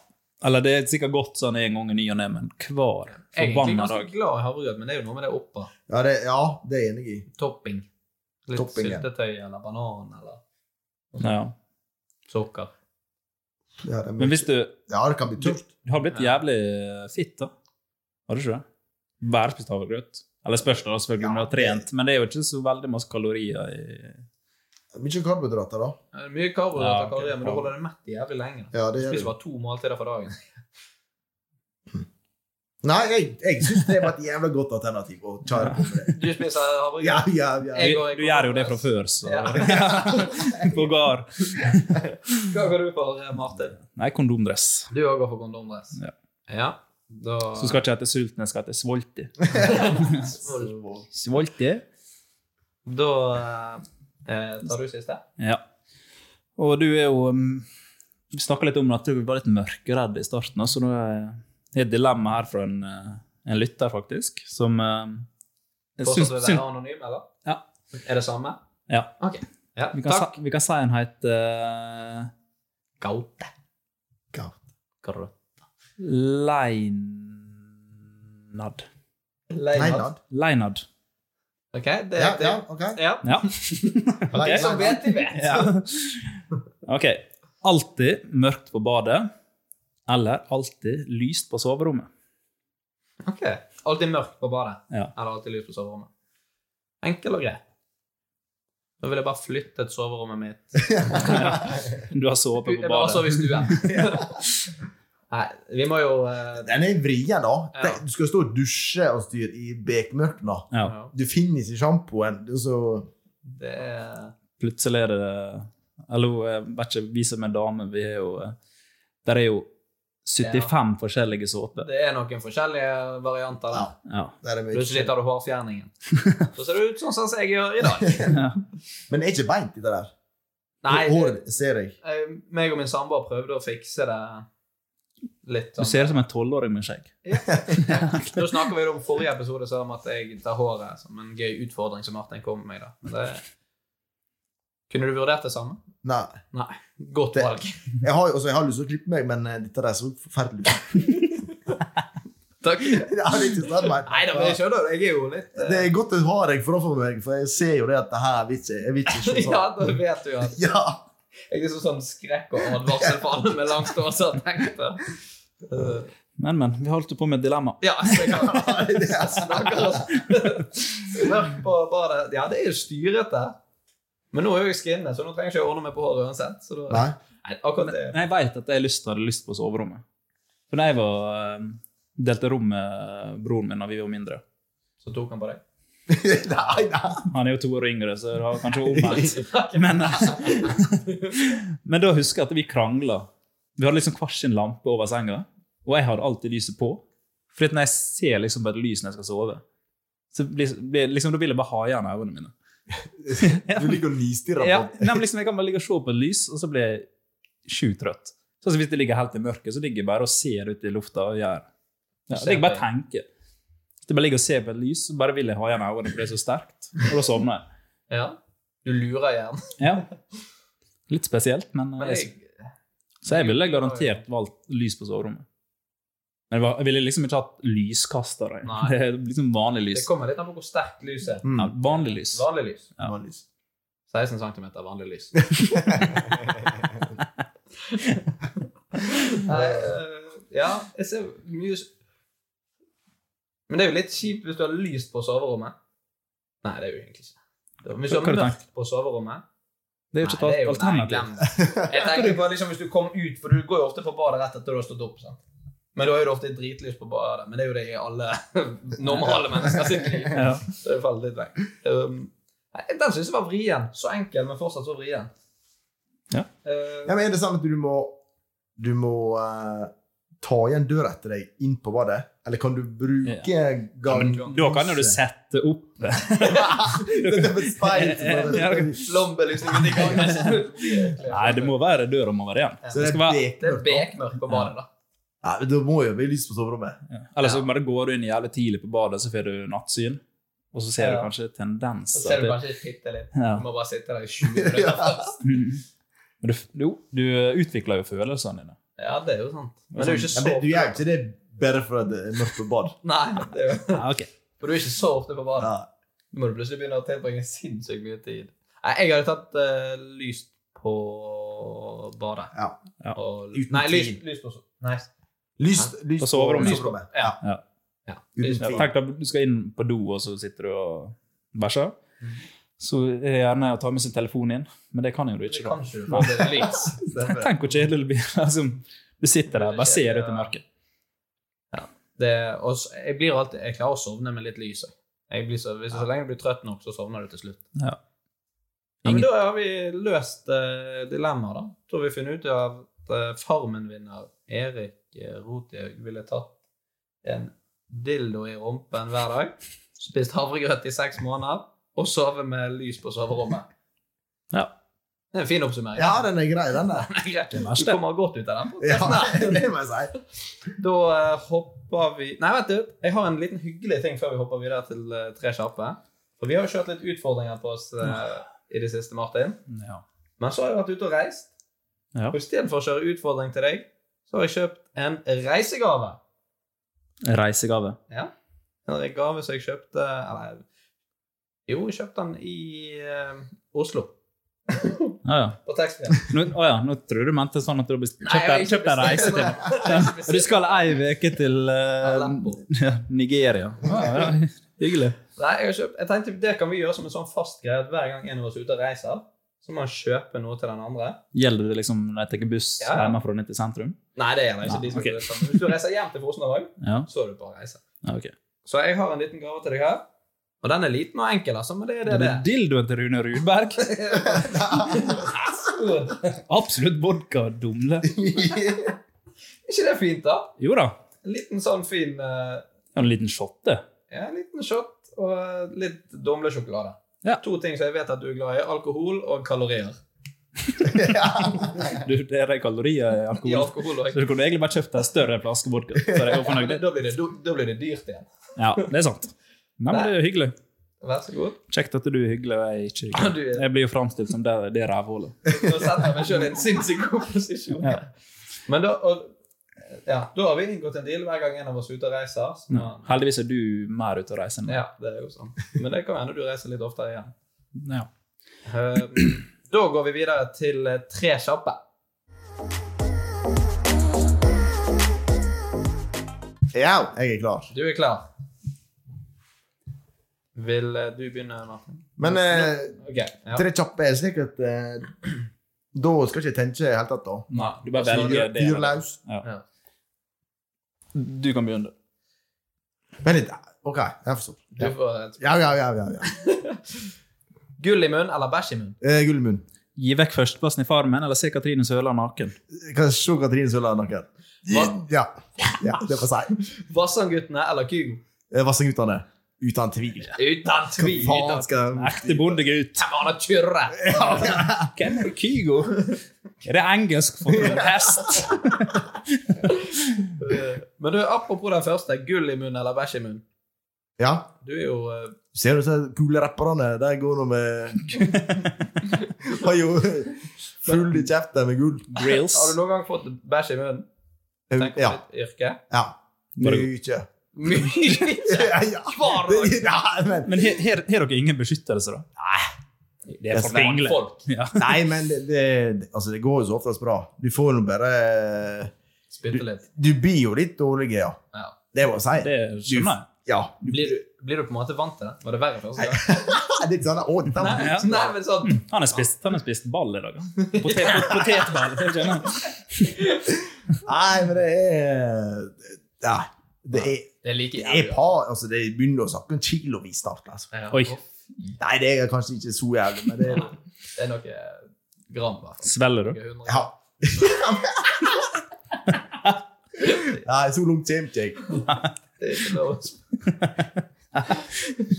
Speaker 4: Eller det er sikkert godt sånn en gang i ny og ne, men hver
Speaker 3: er egentlig
Speaker 4: forbanna
Speaker 3: ganske
Speaker 4: dag.
Speaker 3: glad i havregrøt, men det er jo noe med det oppå.
Speaker 5: Ja, det, ja, det er jeg enig i.
Speaker 3: Topping. Litt
Speaker 5: Topping, ja.
Speaker 3: syltetøy eller banan eller
Speaker 4: Ja.
Speaker 3: sukker.
Speaker 5: Ja, det,
Speaker 4: Men hvis du
Speaker 5: ja, det kan bli tørt.
Speaker 4: Du har blitt jævlig fitt, da. Har du ikke det? Bare spist havregrøt. Eller spørs det da, selvfølgelig om du har trent, men det er jo ikke så veldig masse kalorier i
Speaker 5: Mye karbohydrater, da.
Speaker 3: Det er Eh, Mye karbohydrater,
Speaker 4: Ja, ok.
Speaker 3: kalorier, men du holder det mett jævlig lenge. da.
Speaker 5: Ja, det gjør
Speaker 3: Spiser
Speaker 5: det.
Speaker 3: bare to måltider for dagen.
Speaker 5: Nei, jeg, jeg syns det var et jævla godt alternativ å kjøre på med det.
Speaker 3: Du spiser
Speaker 5: Ja,
Speaker 3: havregrøt.
Speaker 5: ja, ja.
Speaker 3: Jeg
Speaker 4: Du,
Speaker 3: går i
Speaker 4: du gjør jo det fra før, så På gard.
Speaker 3: Hva går du for, eh, Martin?
Speaker 4: Nei, kondomdress.
Speaker 3: Du òg går for kondomdress.
Speaker 4: Ja.
Speaker 3: ja. Da eh,
Speaker 4: Så skal ikke jeg hete sulten, jeg skal hete svolti. Svolti?
Speaker 3: Da eh, tar du siste.
Speaker 4: Ja. Og du er jo um, Vi snakka litt om at du var litt mørkeredd i starten, og så nå er det et dilemma her fra en, uh, en lytter, faktisk, som um, jeg
Speaker 3: Fortsatt
Speaker 4: syns,
Speaker 3: vil
Speaker 4: syns
Speaker 3: være anonym, eller?
Speaker 4: ja,
Speaker 3: Er det samme?
Speaker 4: ja.
Speaker 3: Ok. Ja,
Speaker 4: Vi, kan
Speaker 3: takk.
Speaker 4: si, vi kan si en het uh,
Speaker 3: Gaute.
Speaker 5: Gaute.
Speaker 3: Gaute.
Speaker 4: Leinad.
Speaker 5: Leinad.
Speaker 4: Leinad.
Speaker 3: Ok, det
Speaker 5: Ja,
Speaker 3: det-
Speaker 5: ja, ok.
Speaker 3: Ja.
Speaker 4: Ja.
Speaker 3: De som
Speaker 5: Leinad.
Speaker 3: vet, de vet.
Speaker 4: ja. Ok. Alltid mørkt på badet, eller alltid lyst på soverommet.
Speaker 3: Ok. Alltid mørkt på badet.
Speaker 4: Ja.
Speaker 3: Eller alltid lys på soverommet. Enkel og grei. Da vil jeg bare flytte et soverommet mitt.
Speaker 4: Du altså har sovet på
Speaker 3: Jeg bare sove i
Speaker 4: badet.
Speaker 3: stuen. Nei, vi må jo eh,
Speaker 5: Den er vrien, da.
Speaker 3: Ja.
Speaker 5: Den- Du skal stå og dusje og styre i bekmørket. da.
Speaker 4: Ja.
Speaker 3: ja,
Speaker 5: Du finner ikke sjampoen. Du, så-
Speaker 3: Det er
Speaker 4: Plutselig er det Eller hun er- vet ikke, vi som er damer, vi er jo eh, Der er jo 75 forskjellige såper.
Speaker 3: Det er noen forskjellige varianter der.
Speaker 4: Ja.
Speaker 5: Det er mye
Speaker 3: Plutselig
Speaker 5: forskjellig.
Speaker 3: tar du hårfjerningen. Så ser det ut sånn som jeg gjør i dag.
Speaker 5: Men det er ikke beint, dette der.
Speaker 3: Nei,
Speaker 5: Håret ser jeg.
Speaker 3: eh, meg og min samboer prøvde å fikse det litt
Speaker 4: Du
Speaker 3: sånn.
Speaker 4: ser ut som en tolvåring med skjegg.
Speaker 3: Da snakker vi om forrige episode sa om at jeg tar håret som en gøy utfordring som Martin kom med meg, da. Men det... Kunne du vurdert det samme?
Speaker 5: Nei.
Speaker 3: Nei. Godt
Speaker 5: Det-
Speaker 3: valg.
Speaker 5: Jeg har, altså, jeg har lyst til å klippe meg, men eh, dette der så forferdelig ut.
Speaker 3: Takk.
Speaker 5: Jeg har ikke snart meg.
Speaker 3: Nei da, men jeg skjønner det. Jeg er jo litt eh,
Speaker 5: Det er godt jeg har deg for å få meg, for jeg ser jo det at det her vil ikke Jeg vil ikke se
Speaker 3: Ja,
Speaker 5: sånn.
Speaker 3: da vet du at
Speaker 5: Ja.
Speaker 3: jeg er liksom sånn skrekk og advarsel for alle med langt hår som har tenkt det. Eh,
Speaker 4: Men, men. Vi holdt jo på med et dilemma.
Speaker 3: Ja, så jeg kan
Speaker 5: Ja, det er sånn.
Speaker 3: Stakkars. Mørkt på badet. Ja, det er jo styrete. Men nå er jo jeg skinnet, så nå trenger jeg ikke å ordne meg på håret uansett. Så da,
Speaker 5: Nei.
Speaker 3: Nei, akkurat det.
Speaker 4: Men jeg vet at jeg lyst, hadde lyst på soverommet. For da jeg var, eh, delte rom med eh, broren min da vi var mindre
Speaker 3: Så tok han på deg.
Speaker 5: Nei, nei.
Speaker 4: Han er jo to år yngre, så det har kanskje omvendt. Men, eh, men da husker jeg at vi krangla. Vi hadde liksom hver sin lampe over senga, og jeg hadde alltid lyset på. For at når jeg ser liksom på et lys når jeg skal sove, så blir, blir, liksom, da vil jeg bare ha igjen øynene mine.
Speaker 5: Du ligger og nistirrer
Speaker 4: Ja,
Speaker 5: på
Speaker 4: nei, men liksom, jeg kan bare ligge og se på et lys, og så blir jeg sjukt trøtt. Sånn som Hvis det ligger helt i mørket, så ligger jeg bare og ser ut i lufta og gjør ja, Det er ikke bare tenke. Hvis jeg bare ligger og ser på et lys, så bare vil jeg ha igjen øynene, for det er så sterkt. Og da sovner jeg.
Speaker 3: Ja. Du lurer igjen.
Speaker 4: Ja. Litt spesielt, men,
Speaker 3: Men
Speaker 4: jeg,
Speaker 3: jeg,
Speaker 4: Så jeg ville garantert valgt lys på soverommet. Men jeg var- jeg ville liksom ikke hatt lyskaster. jeg.
Speaker 3: Nei.
Speaker 4: Det er liksom vanlig
Speaker 3: det
Speaker 4: lys.
Speaker 3: kommer litt an på hvor sterkt lyset er.
Speaker 4: Ja, vanlig lys.
Speaker 3: Vanlig lys.
Speaker 4: Ja.
Speaker 5: Vanligvis.
Speaker 3: 16 cm vanlig lys. Nei, eh, ja, jeg ser mye s- Men det er jo litt kjipt hvis du har lyst på soverommet. Nei, det er jo egentlig ikke. Det- Hvis du
Speaker 4: Hva
Speaker 3: har
Speaker 4: har du
Speaker 3: mørkt på soverommet
Speaker 4: Det er jo ikke
Speaker 3: Nei,
Speaker 4: et
Speaker 3: jo- nei,
Speaker 4: alternativ.
Speaker 3: glem det. Jeg tenker på liksom, Hvis du kom ut, for du går jo ofte på badet rett etter du har stått opp. sant? Men da er det ofte dritlys på badet. Men det er jo det i alle normale mennesker sitt liv.
Speaker 4: Ja.
Speaker 3: Så det faller litt vekk. Um, nei, den syns jeg var vrien. Så enkel, men fortsatt så vrien.
Speaker 4: Ja.
Speaker 3: Uh,
Speaker 5: Ja, men er det sånn at du må, du må eh, ta igjen døra etter deg inn på badet? Eller kan du bruke gang...
Speaker 4: Da kan jo du sette opp
Speaker 5: Det er med speil.
Speaker 3: Lombelysningen i gang.
Speaker 4: Nei, det må være døra må være igjen.
Speaker 5: Så det
Speaker 4: Det skal
Speaker 5: er
Speaker 4: være,
Speaker 3: Det er
Speaker 5: bekmørkt.
Speaker 3: bekmørkt på badet, da.
Speaker 5: Nei, men Da må jo bli lyst på soverommet.
Speaker 4: eller så bare går du inn jævlig tidlig på badet, så får du nattsyn. Og så ser du
Speaker 3: Ja.
Speaker 4: kanskje
Speaker 3: Så ser
Speaker 4: tendenser
Speaker 3: du
Speaker 4: til
Speaker 3: kanskje fitte litt.
Speaker 4: Ja.
Speaker 3: Du må bare sitte der i 20 minutter først.
Speaker 4: Men du, du, du utvikler jo følelsene dine.
Speaker 3: Ja, det er jo sant. Men det er jo ikke
Speaker 5: Ja,
Speaker 3: så
Speaker 5: men du gjør jo
Speaker 3: ofte.
Speaker 5: ikke det bare for at det er mørkt på bad.
Speaker 3: Nei, det er jo.
Speaker 4: Ja, ok.
Speaker 3: For du er ikke så ofte på badet.
Speaker 5: Ja.
Speaker 3: Nå må du plutselig begynne å tilbringe sinnssykt mye tid. Nei, jeg hadde tatt eh, lys på badet.
Speaker 5: Ja.
Speaker 4: Ja.
Speaker 3: Og,
Speaker 5: Uten
Speaker 3: nei, lys,
Speaker 5: tvil.
Speaker 3: lys på so- Nei.
Speaker 5: Lyst, lyst
Speaker 4: På soverommet.
Speaker 5: Ja.
Speaker 4: Ja.
Speaker 3: Ja.
Speaker 5: Uten
Speaker 3: Lys
Speaker 4: Ja,
Speaker 3: på
Speaker 5: tvil.
Speaker 4: Tenk deg, du skal inn på do, og så sitter du og bæsjer. Så er det gjerne å ta med sin telefon inn, men det kan jo du
Speaker 3: Det
Speaker 4: ikke.
Speaker 3: kan
Speaker 4: da.
Speaker 3: ikke du få det er lys.
Speaker 5: Stemmer.
Speaker 4: Tenk hvor kjedelig det blir. Altså, du sitter der bare ser ut i mørket.
Speaker 3: Det, og så- jeg, blir alltid, jeg klarer å sovne med litt lys. jeg. Jeg blir så, hvis, så lenge du blir trøtt nok, så sovner du til slutt.
Speaker 4: Ja.
Speaker 3: Ja, men da har vi løst uh, dilemmaet, da. Tror vi finner ut av at eh, Farmen-vinner Erik eh, Rothaug ville tatt en dildo i rumpen hver dag, spist havregrøt i seks måneder og sovet med lys på soverommet.
Speaker 4: Ja.
Speaker 3: Det er en fin oppsummering.
Speaker 5: Ja, den er grei, den der.
Speaker 3: du kommer godt ut av den.
Speaker 5: Ja, det må jeg si.
Speaker 3: Da eh, hopper vi Nei, vet du, jeg har en liten hyggelig ting før vi hopper videre til eh, Tre kjappe. For vi har jo kjørt litt utfordringer på oss eh, i det siste, Martin.
Speaker 4: Ja.
Speaker 3: Men så har jeg vært ute og reist.
Speaker 4: Ja.
Speaker 3: Og istedenfor å kjøre utfordring til deg, så har jeg kjøpt en reisegave.
Speaker 4: Reisegave.
Speaker 3: Ja. En gave som jeg kjøpte Eller jo, jeg kjøpte den i eh, Oslo.
Speaker 4: Ja, ja.
Speaker 3: På taxfree.
Speaker 4: Nå, å ja, nå tror du mente sånn at du har bestilt- kjøpt
Speaker 3: Nei,
Speaker 4: deg-
Speaker 3: jeg har ikke
Speaker 4: kjøpt deg reise
Speaker 3: bestilt
Speaker 4: til
Speaker 3: meg.
Speaker 4: Ja, Og du skal ei uke til eh,
Speaker 3: Aleppo.
Speaker 4: ja, Nigeria. Ja, ja. Hyggelig.
Speaker 3: Nei, jeg, har kjøpt, jeg tenkte det kan vi gjøre som en sånn fast greie at hver gang en av oss er ute og reiser, så må han kjøpe noe til den andre.
Speaker 4: Gjelder det liksom når jeg tar buss
Speaker 3: Ja, ja.
Speaker 4: hjemmefra og ned til sentrum?
Speaker 3: Nei, det gjelder ikke
Speaker 4: Nei,
Speaker 3: de som
Speaker 4: ok.
Speaker 3: okay. reiser. Hvis du reiser hjem til Fosnavåg,
Speaker 4: Ja,
Speaker 3: så er du på reise.
Speaker 4: ja ok.
Speaker 3: Så jeg har en liten gave til deg her. Og den er liten og enkel, altså, men det er det
Speaker 4: Den
Speaker 3: det
Speaker 4: er
Speaker 3: er.
Speaker 4: dildoen til Rune Rudberg. Absolutt vodka og dumle.
Speaker 3: Er ikke det fint, da?
Speaker 4: Jo da.
Speaker 3: En liten sånn fin eh,
Speaker 4: det er En liten shotte.
Speaker 3: ja, en liten shot og eh, litt dumlesjokolade.
Speaker 4: Ja.
Speaker 3: To ting som jeg vet at du er glad i. Alkohol og kalorier.
Speaker 4: Du, det er kalorier i alkohol.
Speaker 3: I alkohol også.
Speaker 4: Så du kunne egentlig bare kjøpt en større flaske vodka. Så er jeg jo
Speaker 3: Ja, men
Speaker 4: fornøyd.
Speaker 3: da, blir det, da blir det dyrt igjen.
Speaker 4: Ja, det er sant. Nei, men det er hyggelig.
Speaker 3: Vær så god.
Speaker 4: Kjekt at du er hyggelig og jeg er ikke
Speaker 3: Ja, du
Speaker 4: hyggelig.
Speaker 3: er-
Speaker 4: Jeg blir jo framstilt som det, det rævhullet.
Speaker 3: Nå setter jeg meg sjøl i en sinnssykt god posisjon.
Speaker 4: Ja.
Speaker 3: Men da, og, ja, da har vi inngått en deal hver gang en av oss er ute og reiser. Så,
Speaker 4: Ja. Heldigvis er du mer ute å reise enn meg.
Speaker 3: ja, det er jo sånn. Men det kan hende du reiser litt oftere igjen.
Speaker 4: Ja.
Speaker 3: Eh, da går vi videre til eh, tre kjappe.
Speaker 5: Ja, jeg er klar.
Speaker 3: Du er klar? Vil eh, du begynne, Martin?
Speaker 5: Men eh,
Speaker 3: Ok, ja.
Speaker 5: tre kjappe er slik at eh, Da skal ikke jeg tenke i det hele tatt, da.
Speaker 4: Nei, du bare
Speaker 3: Også når
Speaker 4: velger
Speaker 3: du
Speaker 4: det. eller det.
Speaker 5: Dyrlaus.
Speaker 4: Ja.
Speaker 3: Ja.
Speaker 4: Du kan begynne.
Speaker 5: Vent litt. OK, jeg forstår.
Speaker 3: Du får et
Speaker 5: Ja, ja, ja. ja, ja.
Speaker 3: gull i munnen eller bæsj i munnen?
Speaker 5: Eh, Gullmunn.
Speaker 4: Gi vekk førsteplassen i Farmen eller se Katrine Sørland naken.
Speaker 5: Kan jeg se Katrine Sølland naken?
Speaker 3: Hva?
Speaker 5: Ja. ja. Det får jeg si.
Speaker 3: Vassandguttene eller Kygo?
Speaker 5: Eh, Vassendgutane. Uten tvil.
Speaker 3: Uten
Speaker 5: Hva
Speaker 3: tvil!
Speaker 5: faen
Speaker 3: Uten tvil.
Speaker 5: skal jeg
Speaker 4: Ekte bondegutt.
Speaker 3: Han har kjørre!
Speaker 4: Hvem er Kygo? Er det engelsk for en hest?
Speaker 3: Eh, Men du, apropos den første. Gull i munnen eller bæsj i munnen?
Speaker 5: Ja.
Speaker 3: Du er jo eh,
Speaker 5: Ser du disse kule rapperne? De går nå med Har jo full i kjeften med gull.
Speaker 4: Grills.
Speaker 3: Har du noen gang fått bæsj i munnen? Tenk på
Speaker 5: Ja.
Speaker 3: ditt yrke.
Speaker 5: ja.
Speaker 4: Bare-
Speaker 5: Mye.
Speaker 3: Mye!
Speaker 5: Ja, ja.
Speaker 3: Hver dag.
Speaker 5: Det- Nei, men,
Speaker 4: Men her her- her har dere ingen beskyttelse, da? Nei. Det er for
Speaker 3: Vanlige
Speaker 4: engler.
Speaker 3: folk.
Speaker 4: Ja.
Speaker 5: nei, men det, det, altså, det går jo så oftest bra. Du får jo bare
Speaker 3: Spytte litt.
Speaker 5: Du blir jo litt dårlig, ja.
Speaker 3: Ja.
Speaker 5: Det må jeg si.
Speaker 4: Det skjønner jeg.
Speaker 5: Ja.
Speaker 3: sånn, Blir, du, blir du på en måte vant til det? Var det verre første gang?
Speaker 5: Nei, det er ikke sånn, å, dette var-
Speaker 3: Nei, nei, men sånn
Speaker 4: Han har spist, han har spist ball i dag. han. Potet, potetball. det skjønner jeg.
Speaker 5: Nei, men det er Ja. Det er,
Speaker 3: Det er like
Speaker 5: det er
Speaker 3: jævlig.
Speaker 5: par altså, Det begynner å snakke om kilovis snart. Altså.
Speaker 3: Ja.
Speaker 4: Oi.
Speaker 5: Nei, det er kanskje ikke så jævlig, men det er
Speaker 3: Det er noe gram, i hvert fall.
Speaker 4: Svelger du?
Speaker 3: Noe hundre.
Speaker 5: Ja. Nei, så langt kommer ikke jeg.
Speaker 3: Det er ikke lov å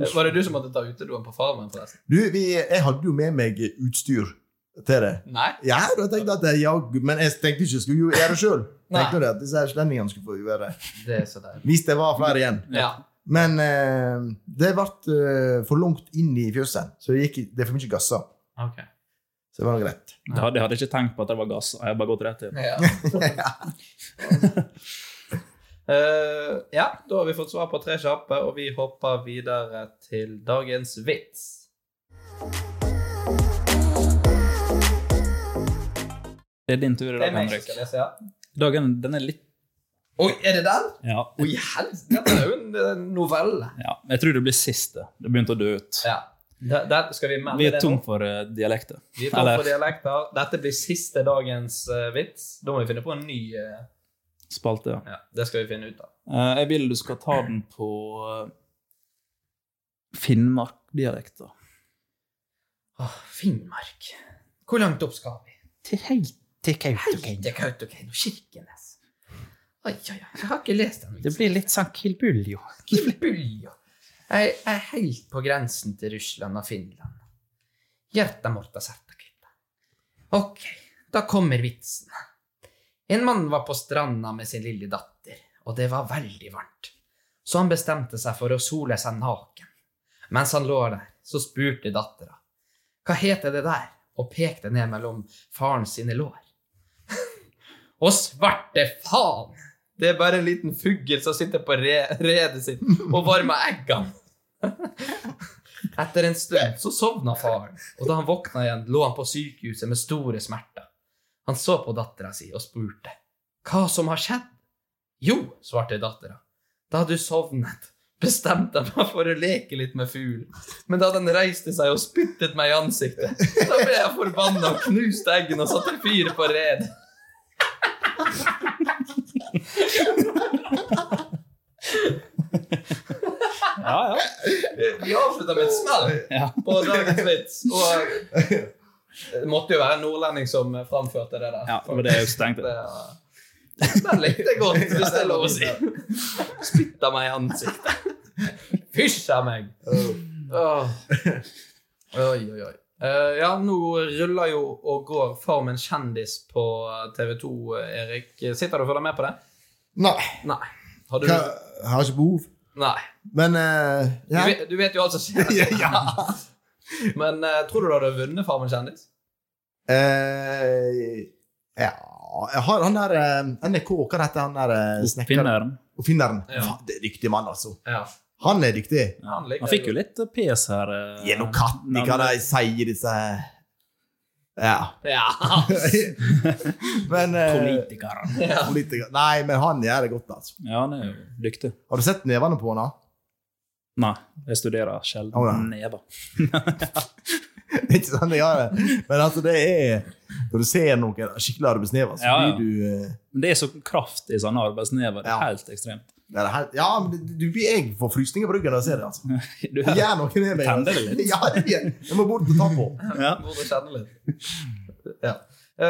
Speaker 3: sp- Var det du som måtte ta utedoen på Farmen, forresten?
Speaker 5: Du, vi, jeg hadde jo med meg utstyr til det.
Speaker 3: Nei?
Speaker 5: Ja, da tenkte jeg at jeg, ja, men jeg tenkte ikke jeg skulle jo gjøre det sjøl. Tenkte jo det at disse her slendingene skulle få gjøre det.
Speaker 3: Det er så deilig.
Speaker 5: Hvis det var flere igjen.
Speaker 3: Ja.
Speaker 5: Men eh, det ble eh, for langt inn i fjøset, så det, gikk, det er for mye gasser.
Speaker 3: Ok.
Speaker 5: Så det var greit.
Speaker 4: Det hadde jeg hadde ikke tenkt på at det var gass. Jeg hadde bare gått rett til.
Speaker 3: Ja. Eh, ja, da har vi fått svar på tre kjappe, og vi hopper videre til dagens vits.
Speaker 4: Det er din tur i
Speaker 3: Det er
Speaker 4: dag,
Speaker 3: meg som
Speaker 4: Henrik.
Speaker 3: skal lese, ja.
Speaker 4: Dagen, den er litt
Speaker 3: Oi, er det den?
Speaker 4: ja.
Speaker 3: Oi, helsike, dette er jo en en novelle.
Speaker 4: ja. Jeg tror det blir siste. Det begynte å dø ut.
Speaker 3: Ja. Der, der skal vi melde
Speaker 4: Vi er
Speaker 3: det
Speaker 4: tom
Speaker 3: nå.
Speaker 4: for eh, dialekter.
Speaker 3: Vi er tom
Speaker 4: Eller
Speaker 3: for dialekter. Dette blir siste dagens eh, vits. Da må vi finne på en ny eh,
Speaker 4: spalte. ja.
Speaker 3: Ja, det skal vi finne ut av.
Speaker 4: Eh, Jeg vil du skal ta den på eh, Finnmark-dialekter.
Speaker 3: Åh, Finnmark. Hvor langt opp skal vi?
Speaker 4: Til helt til Kautokeino.
Speaker 3: Til Kautokeino. Kirkenes. Oi, oi, oi. Jeg har ikke lest den.
Speaker 4: Det blir litt sånn Kilbull, jo.
Speaker 3: Kilbulja. Jeg jeg er helt på grensen til Russland og Finland. Hjertet måtte sette kutta. Ok, da kommer vitsen. En mann var på stranda med sin lille datter, og det var veldig varmt. Så han bestemte seg for å sole seg naken. Mens han lå der, så spurte dattera. Hva heter det der? Og pekte ned mellom faren sine lår. Å, svarte faen! Det er bare en liten fugl som sitter på re redet sitt og varmer eggene. Etter en stund så sovna faren, og da han våkna igjen, lå han på sykehuset med store smerter. Han så på dattera si og spurte hva som har skjedd. Jo, svarte dattera, da du sovnet, bestemte jeg meg for å leke litt med fuglen, men da den reiste seg og spyttet meg i ansiktet, da ble jeg forbanna og knuste eggene og satte fyr på redet.
Speaker 4: Ja, ja.
Speaker 3: Vi avslutter med et smell
Speaker 4: Ja.
Speaker 3: på dagens vits. Og det måtte jo være en nordlending som framførte det der.
Speaker 4: Ja, det var det jeg også tenkte.
Speaker 3: Det- Den likte jeg godt, hvis det er lov å si. Spytter meg i ansiktet. Fysj av meg! Åh. Oi, oi, oi. Eh, ja, nå ruller jo og går Farmen kjendis på TV2, Erik. Sitter du og følger med på det?
Speaker 5: Nei.
Speaker 3: Nei. Har du
Speaker 5: Hva, jeg har ikke behov.
Speaker 3: Nei.
Speaker 5: Men eh,
Speaker 3: Du
Speaker 5: ja.
Speaker 3: vet, du vet jo alt som skjer. Men eh, tror du du hadde vunnet Farmen kjendis?
Speaker 5: Eh, ja Jeg har han der eh, NRK, hva heter han der eh, snekkeren?
Speaker 4: Finneren.
Speaker 5: Oppfinneren.
Speaker 3: Ja.
Speaker 5: Faen, det er Dyktig mann, altså.
Speaker 3: Ja.
Speaker 5: Han er dyktig.
Speaker 3: Han, liker
Speaker 4: Han fikk jo
Speaker 3: det
Speaker 4: litt pes her. eh,
Speaker 5: Gjennom katten, hva de sier, disse Ja.
Speaker 3: godt. Ja.
Speaker 5: men eh,
Speaker 4: Politikerne.
Speaker 5: politiker. Nei, men han gjør det godt, altså.
Speaker 4: Ja, han er jo dyktig.
Speaker 5: Har du sett nevene på han? da?
Speaker 4: Nei, jeg studerer sjelden
Speaker 5: Å, ja.
Speaker 4: never.
Speaker 5: ikke sant? Jeg har det. Men altså, det er Når du ser noen skikkelig arbeidsnever, så
Speaker 4: Ja, ja.
Speaker 5: blir du eh,
Speaker 4: Men det er så kraft i sånne arbeidsnever. Det
Speaker 5: Ja.
Speaker 4: er helt ekstremt.
Speaker 5: det er helt, Ja, men det- du blir jeg får frysninger på ryggen når jeg ser det, altså.
Speaker 4: Du
Speaker 5: Det gjør noe med meg.
Speaker 4: Tenner
Speaker 5: altså.
Speaker 4: det litt?
Speaker 5: Ja, det gjør det. Jeg må bort og ta på.
Speaker 4: Ja.
Speaker 3: Hvor du kjenner litt. Ja.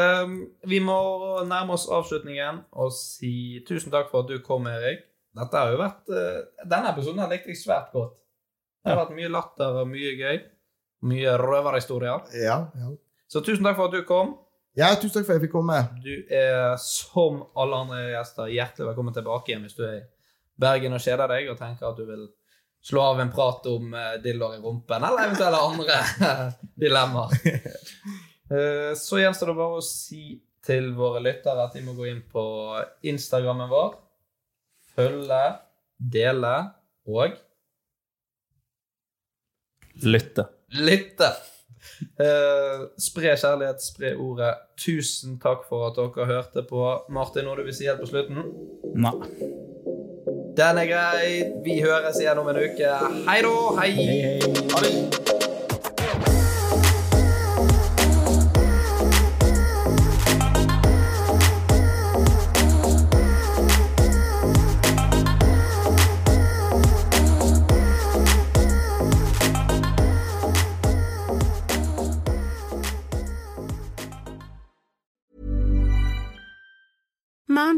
Speaker 3: Ehm, vi må nærme oss avslutningen og si tusen takk for at du kom, Erik. Dette har jo vært, eh, denne episoden her likte jeg svært godt. Det har vært mye latter og mye gøy. Mye røverhistorier.
Speaker 5: Ja, ja.
Speaker 3: Så tusen takk for at du kom.
Speaker 5: ja, tusen takk for at jeg fikk komme.
Speaker 3: Du er som alle andre gjester hjertelig velkommen tilbake igjen hvis du er i Bergen og kjeder deg og tenker at du vil slå av en prat om eh, dildoer i rumpen, eller eventuelle andre dilemmaer. Eh, Så gjenstår det bare å si til våre lyttere at de må gå inn på Instagrammen vår, følge, dele og
Speaker 4: Lytte.
Speaker 3: lytte. Eh, spre kjærlighet, spre ordet. Tusen takk for at dere hørte på. Martin, noe du vil si helt på slutten?
Speaker 4: Nei.
Speaker 3: Den er grei. Vi høres igjen om en uke. Hei da. Hei. Ha det.
Speaker 10: Mom